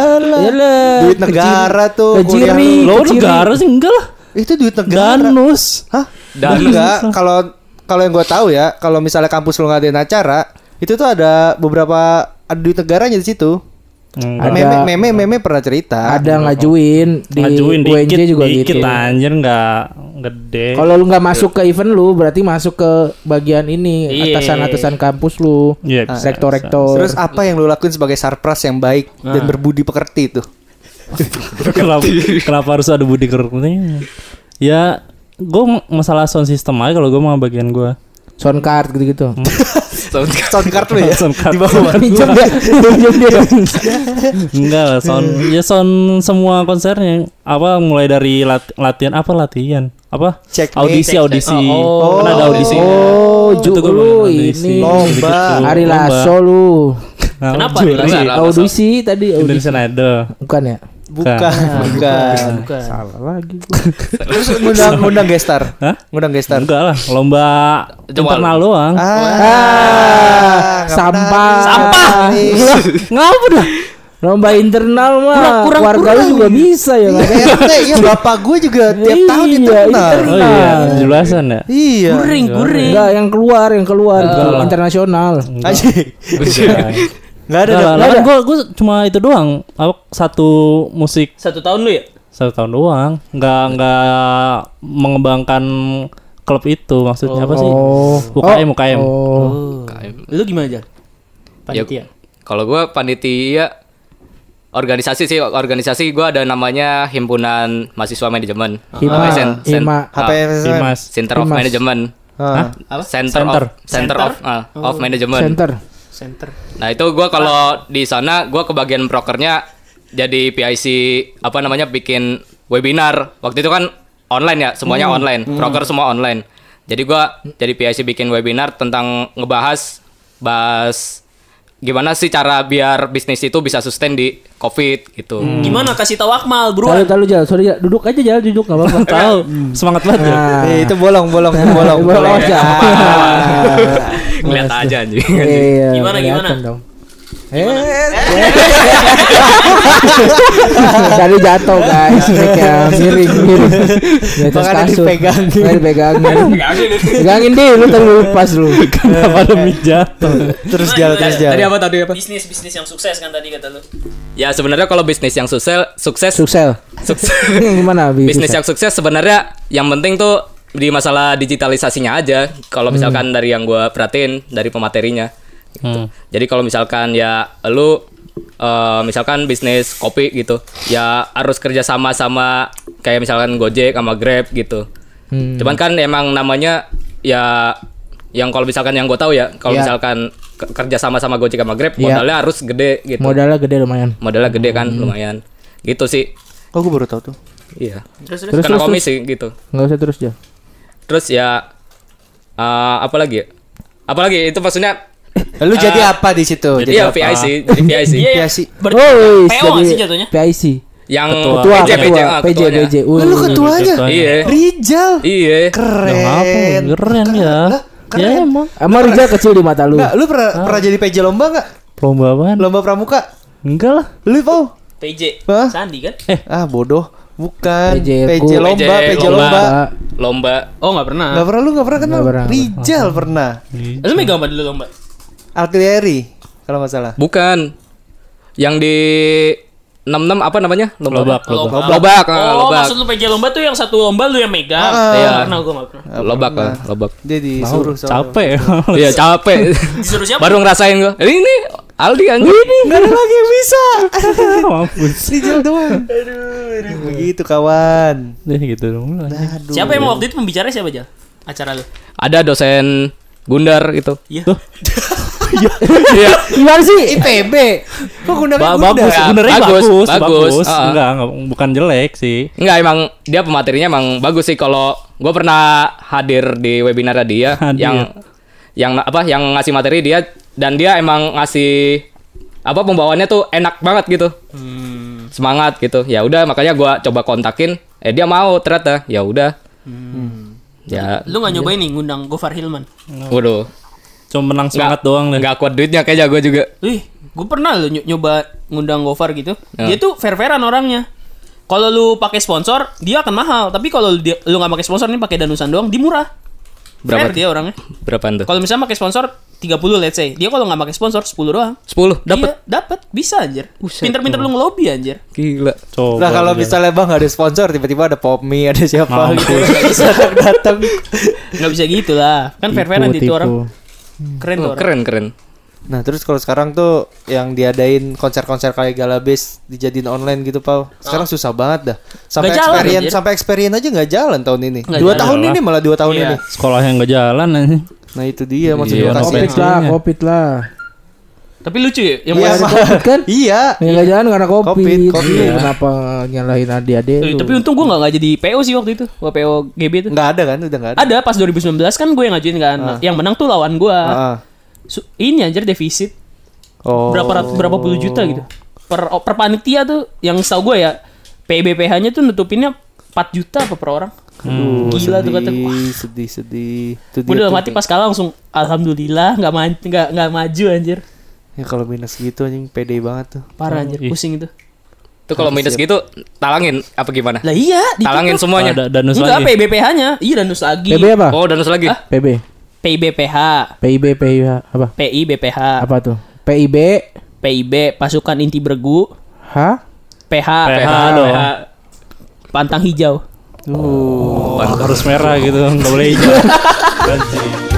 Speaker 4: Yalah,
Speaker 1: Duit negara tuh kuliah
Speaker 4: Iya kejiri.
Speaker 1: lu.
Speaker 2: Lo
Speaker 4: kecil.
Speaker 2: negara sih enggak lah.
Speaker 1: Itu duit negara.
Speaker 2: Danus.
Speaker 1: Hah?
Speaker 5: Dan-
Speaker 1: enggak kalau kalau yang gue tahu ya, kalau misalnya kampus lu ngadain acara, itu tuh ada beberapa ada duit negaranya di situ.
Speaker 2: Enggak.
Speaker 1: Meme, meme, meme pernah cerita.
Speaker 4: ada ngajuin di
Speaker 2: Ngajuin
Speaker 4: UNJ
Speaker 2: dikit,
Speaker 4: juga
Speaker 2: dikit
Speaker 4: gitu.
Speaker 2: anjir enggak gede.
Speaker 4: Kalau lu nggak masuk ke event lu, berarti masuk ke bagian ini
Speaker 3: Iya.
Speaker 4: atasan-atasan kampus lu,
Speaker 2: Iya, bisa,
Speaker 4: rektor-rektor.
Speaker 1: Terus apa yang lu lakuin sebagai sarpras yang baik dan berbudi pekerti itu?
Speaker 2: kenapa, kenapa harus ada budi kerutnya? Ya, gue masalah sound system aja kalau gue mah bagian gue.
Speaker 4: sound card gitu-gitu.
Speaker 2: Hmm.
Speaker 1: Sound card lu ya?
Speaker 2: Sound card.
Speaker 1: Di bawah.
Speaker 4: Pinjam
Speaker 2: Iya.
Speaker 4: dia, pinjam dia.
Speaker 2: Enggak lah
Speaker 1: Hmm.
Speaker 2: sound, ya sound semua konsernya apa mulai dari lat- latihan apa latihan apa
Speaker 1: Checkmate.
Speaker 2: audisi
Speaker 1: Check-
Speaker 2: audisi
Speaker 1: oh.
Speaker 2: kan ada audisi
Speaker 4: Oh, Ju, lu
Speaker 2: gua bagian audisi,
Speaker 4: ini.
Speaker 2: gitu-gitu.
Speaker 1: Lomba.
Speaker 4: Ari
Speaker 2: Lomba.
Speaker 4: Lasso lu.
Speaker 2: Nah,
Speaker 3: Kenapa
Speaker 2: juri.
Speaker 3: Ari Lasso?
Speaker 4: Audisi tadi audisi.
Speaker 2: Indonesian Idol
Speaker 4: Bukan ya?
Speaker 1: Bukan, bukan.
Speaker 3: Bukan.
Speaker 4: Salah lagi.
Speaker 1: Terus ngundang ngundang gestar.
Speaker 2: Hah?
Speaker 1: Ngundang gestar.
Speaker 2: enggak lah lomba
Speaker 5: Jawab.
Speaker 2: internal doang
Speaker 1: Ah,
Speaker 4: sampah.
Speaker 1: Sampah.
Speaker 2: ngapa dah
Speaker 4: Lomba internal
Speaker 3: Kurang-
Speaker 4: mah
Speaker 3: kurang-
Speaker 4: warga lu
Speaker 3: kurang. Iya,
Speaker 4: juga bisa ya kan.
Speaker 1: PRT ya bapak gue juga tiap tahun
Speaker 4: Iya,
Speaker 1: internal.
Speaker 4: internal.
Speaker 2: Oh iya, 17-an ya.
Speaker 1: Iya.
Speaker 3: Guring, guring.
Speaker 4: Enggak, yang keluar, yang keluar gitu, internasional.
Speaker 1: Anjing. Enggak ada.
Speaker 2: Nggak
Speaker 1: dong.
Speaker 2: lah, kan gue gue cuma itu doang. Apa satu musik
Speaker 3: Satu tahun lu ya?
Speaker 2: satu tahun doang. Nggak nggak mengembangkan klub itu maksudnya apa sih?
Speaker 1: Oh.
Speaker 2: UKM UKM.
Speaker 4: Oh,
Speaker 3: Lu gimana aja?
Speaker 5: Panitia. Kalau gua panitia organisasi sih organisasi gua ada namanya himpunan mahasiswa manajemen. Ah,
Speaker 4: Hima,
Speaker 5: Sen, sen,
Speaker 4: Hima.
Speaker 1: HPSN.
Speaker 2: Iya, Mas.
Speaker 5: Center of
Speaker 4: Himas.
Speaker 5: Management.
Speaker 1: Hah?
Speaker 5: Apa? Center, of
Speaker 2: Center.
Speaker 5: Center, of ah, of Management.
Speaker 4: Center.
Speaker 3: Center.
Speaker 5: Nah, itu gua kalau di sana gua kebagian prokernya jadi PIC apa namanya bikin webinar. Waktu itu kan online ya, semuanya online. Proker semua online. Jadi gua jadi PIC bikin webinar tentang ngebahas bahas gimana sih cara biar bisnis itu bisa sustain di Covid gitu.
Speaker 3: Gimana kasih tahu Akmal, bro?
Speaker 4: Tahu tahu jalan, sorry Jal. duduk aja jalan duduk enggak apa-apa.
Speaker 2: Tahu, Oh,
Speaker 1: Hmm.
Speaker 2: semangat banget ya.
Speaker 4: Nah.
Speaker 1: Eh, itu ya. bolong, bolong, bolong, Ah,
Speaker 4: bolong.
Speaker 1: bolong.
Speaker 4: aja.
Speaker 5: Ngeliat aja anjing.
Speaker 4: Iya,
Speaker 3: Gimana,
Speaker 4: kelihatan
Speaker 3: gimana?
Speaker 4: dong. Eh. Tadi jatuh guys, mic-nya miring miring. Di atas
Speaker 1: Makanya
Speaker 4: kasur.
Speaker 1: dipegangin.
Speaker 4: Makanya dipegangin. Pegangin deh, lu terlalu lepas lu.
Speaker 2: Kenapa ada mic jatuh?
Speaker 1: Terus jalan, terus jalan.
Speaker 3: apa tadi apa? Bisnis bisnis yang sukses kan tadi kata lu.
Speaker 5: Ya sebenarnya kalau bisnis yang sukses sukses
Speaker 4: Sukses.
Speaker 5: sukses
Speaker 4: Gimana Bi?
Speaker 5: bisnis
Speaker 4: Sukses?
Speaker 5: yang sukses sebenarnya yang penting tuh di masalah digitalisasinya aja kalau misalkan dari yang gue perhatiin dari pematerinya Gitu.
Speaker 2: Hmm.
Speaker 5: jadi kalau misalkan ya lu eh, misalkan bisnis kopi gitu ya harus kerja sama sama kayak misalkan Gojek sama Grab gitu cuman kan emang namanya ya yang kalau misalkan yang gue tahu ya kalau
Speaker 4: Iya.
Speaker 5: misalkan ke- kerja sama sama Gojek sama Grab
Speaker 4: Iya.
Speaker 5: modalnya harus gede gitu
Speaker 4: Modalnya gede lumayan.
Speaker 5: modalnya gede kan lumayan gitu sih
Speaker 1: Kok gue baru tahu tuh.
Speaker 5: iya
Speaker 3: Terus terus.
Speaker 4: Terus
Speaker 5: karena
Speaker 4: terus, terus.
Speaker 5: komisi gitu
Speaker 4: Enggak usah terus ya.
Speaker 5: Terus ya eh, apa lagi? Apa lagi? Itu maksudnya
Speaker 1: Lu Ah. jadi apa di situ?
Speaker 5: iya
Speaker 1: apa?
Speaker 5: VIC, jadi VIC.
Speaker 3: Iya, iya.
Speaker 1: PIC.
Speaker 3: Ber-
Speaker 4: Oh,
Speaker 3: PO nggak sih jatuhnya? Oh,
Speaker 4: PIC.
Speaker 5: Yang
Speaker 4: Ketua,
Speaker 5: PJ, PJ,
Speaker 4: ketua,
Speaker 5: ah,
Speaker 4: PJ,
Speaker 5: ketuanya.
Speaker 4: PJ.
Speaker 1: Oh, Lu
Speaker 4: Wih.
Speaker 1: ketuanya.
Speaker 5: Iya.
Speaker 1: Rijal.
Speaker 5: Iya.
Speaker 2: Ya, apa?
Speaker 1: Keren.
Speaker 2: Keren ya.
Speaker 1: keren.
Speaker 2: Ya emang.
Speaker 4: Emang Rizal kecil di mata lu?
Speaker 1: Enggak, lu pernah
Speaker 4: Ah.
Speaker 1: pernah jadi PJ lomba enggak?
Speaker 2: Lomba
Speaker 4: Kan.
Speaker 2: apaan?
Speaker 1: Lomba pramuka?
Speaker 2: Enggak lah.
Speaker 1: Lu mau?
Speaker 3: PJ.
Speaker 1: Hah?
Speaker 3: Sandi kan?
Speaker 4: Eh.
Speaker 1: Ah, bodoh. Bukan.
Speaker 4: PJ
Speaker 1: PJ,
Speaker 4: ku.
Speaker 1: lomba,
Speaker 5: PJ
Speaker 1: PJ lomba.
Speaker 5: Lomba.
Speaker 3: Oh, nggak pernah.
Speaker 1: Enggak pernah lu enggak pernah kenal.
Speaker 4: Ah. Nggak pernah.
Speaker 1: Rijal pernah.
Speaker 3: Lu megang apa dulu lomba?
Speaker 1: Artillery kalau enggak salah.
Speaker 5: Bukan. Yang di 66 apa namanya? Lomba.
Speaker 2: Lobak,
Speaker 5: Lobak,
Speaker 2: lobak.
Speaker 5: ah, lobak.
Speaker 3: Oh, maksud lu PJ lomba tuh yang satu lomba lu yang megang.
Speaker 1: Ah,
Speaker 5: iya.
Speaker 3: Karena gua nggak pernah.
Speaker 5: Lobak, ah, lobak.
Speaker 1: Dia disuruh soalnya.
Speaker 2: Capek.
Speaker 5: Iya, capek.
Speaker 3: Disuruh siapa?
Speaker 5: Baru ngerasain gua. Eh, Ini nih, Aldi anjing.
Speaker 1: Enggak ada lagi yang bisa.
Speaker 2: Mampus.
Speaker 1: Rijal doang. Begitu kawan.
Speaker 2: Deh gitu dong.
Speaker 1: Nah.
Speaker 2: lah.
Speaker 1: Aduh.
Speaker 3: Siapa yang waktu itu pembicara siapa aja? Acara lu.
Speaker 5: Ada dosen Gundar gitu.
Speaker 3: Iya.
Speaker 5: Iya.
Speaker 4: Gimana sih?
Speaker 1: IPB. Kok undangnya
Speaker 2: Ba-
Speaker 1: Bunda?
Speaker 2: bagus, sebenarnya
Speaker 5: Bagus,
Speaker 2: bagus, bagus,
Speaker 5: bagus. Ah.
Speaker 2: Enggak, enggak, bukan jelek sih.
Speaker 5: Enggak emang dia pematerinya emang bagus sih kalau gue pernah hadir di webinar dia
Speaker 2: Hadir.
Speaker 5: yang yang apa yang ngasih materi dia dan dia emang ngasih apa pembawaannya tuh enak banget gitu
Speaker 3: Hmm.
Speaker 5: semangat gitu ya udah makanya gue coba kontakin eh dia mau ternyata ya udah
Speaker 3: Hmm.
Speaker 5: ya
Speaker 3: Lu nggak nyobain nih ngundang Gofar Hilman.
Speaker 5: waduh
Speaker 2: Cuma menang semangat
Speaker 5: Nggak-
Speaker 2: doang deh.
Speaker 5: nggak kuat duitnya kayaknya gue juga
Speaker 3: Wih, gue pernah lo nyoba ngundang Gofar gitu. Dia tuh fair-fairan orangnya. Kalau lu pakai sponsor, dia akan mahal. Tapi kalau lu, dia- lu nggak pakai sponsor nih pakai danusan doang, dia murah. Fair
Speaker 5: berapa
Speaker 3: dia orangnya.
Speaker 5: berapaan tuh
Speaker 3: Kalau misalnya pakai sponsor 30 let's say. Dia kalau nggak pakai sponsor 10 doang.
Speaker 5: 10
Speaker 3: Iya,
Speaker 5: dapat
Speaker 3: dapat. Bisa anjir. Pinter-pinter lu ngelobi anjir.
Speaker 2: Iya.
Speaker 5: gila
Speaker 2: Coba.
Speaker 1: Lah Nah, kalau
Speaker 2: aja.
Speaker 1: misalnya bang ada sponsor tiba-tiba ada Popmi ada siapa
Speaker 2: Mampus.
Speaker 1: gitu bisa datang.
Speaker 3: Nggak bisa gitu lah. Kan fair-fairan itu orang. Keren tuh orang.
Speaker 5: keren keren
Speaker 1: Nah terus kalau sekarang tuh yang diadain konser-konser kayak Galabes dijadiin online gitu pau. Sekarang
Speaker 2: Ah.
Speaker 1: susah banget dah. Sampai
Speaker 3: Nggak jalan,
Speaker 1: experience
Speaker 3: anjir.
Speaker 1: sampai experience aja nggak jalan tahun ini.
Speaker 3: Nggak
Speaker 1: dua
Speaker 3: jalan.
Speaker 1: tahun ini malah dua tahun
Speaker 3: Iya.
Speaker 1: ini.
Speaker 2: sekolahnya nggak jalan anjing.
Speaker 1: Nah itu dia maksudnya
Speaker 2: Iya,
Speaker 1: kasih.
Speaker 2: makanya.
Speaker 4: Covid lah,
Speaker 2: Iya.
Speaker 4: Covid lah.
Speaker 3: Tapi lucu ya. Yang
Speaker 1: Iya,
Speaker 3: pas-
Speaker 1: Mak.
Speaker 4: Covid kan?
Speaker 1: Iya.
Speaker 4: Yang nggak jalan karena Covid.
Speaker 1: Covid, Covid.
Speaker 4: Lu Kenapa nyalahin adik-adik
Speaker 3: Iya. Eh,
Speaker 4: lu?
Speaker 3: tapi untung gue nggak nggak jadi PO sih waktu itu. Gua PO GB itu.
Speaker 1: Nggak ada kan udah nggak ada.
Speaker 3: Ada pas 2019 kan gue yang ngajuin kan. Yang menang tuh lawan gue.
Speaker 1: Ah.
Speaker 3: Su- ini anjir defisit
Speaker 1: Oh.
Speaker 3: berapa rat- berapa puluh juta gitu per per panitia tuh yang setahu gue ya PBPH-nya tuh nutupinnya 4 juta apa per orang gila tuh kata
Speaker 1: sedih,
Speaker 3: wah
Speaker 1: sedih, sedih. Itu
Speaker 3: gue
Speaker 1: dia
Speaker 3: udah
Speaker 1: tuh.
Speaker 3: mati pas kalah langsung alhamdulillah nggak ma- nggak nggak maju anjir
Speaker 1: Ya kalau minus gitu anjing pede banget tuh.
Speaker 3: Parah anjir,
Speaker 1: iya.
Speaker 3: pusing itu.
Speaker 5: Itu kalau minus gitu talangin apa gimana?
Speaker 3: Lah iya, di
Speaker 5: Talangin semuanya.
Speaker 2: Ada danus
Speaker 3: Enggak
Speaker 2: lagi.
Speaker 3: PBPH-nya. Iya danus lagi.
Speaker 4: PB
Speaker 2: Ah.
Speaker 4: apa?
Speaker 5: Oh, danus lagi.
Speaker 4: PB.
Speaker 3: PIBPH,
Speaker 4: PIB, PIB apa?
Speaker 3: PIBPH,
Speaker 4: Apa tuh? PIB,
Speaker 3: PIB Pasukan Inti Bergu,
Speaker 4: H,
Speaker 3: PH,
Speaker 2: PH dong.
Speaker 3: Pantang Hijau.
Speaker 1: Oh.
Speaker 2: harus merah gitu nggak boleh hijau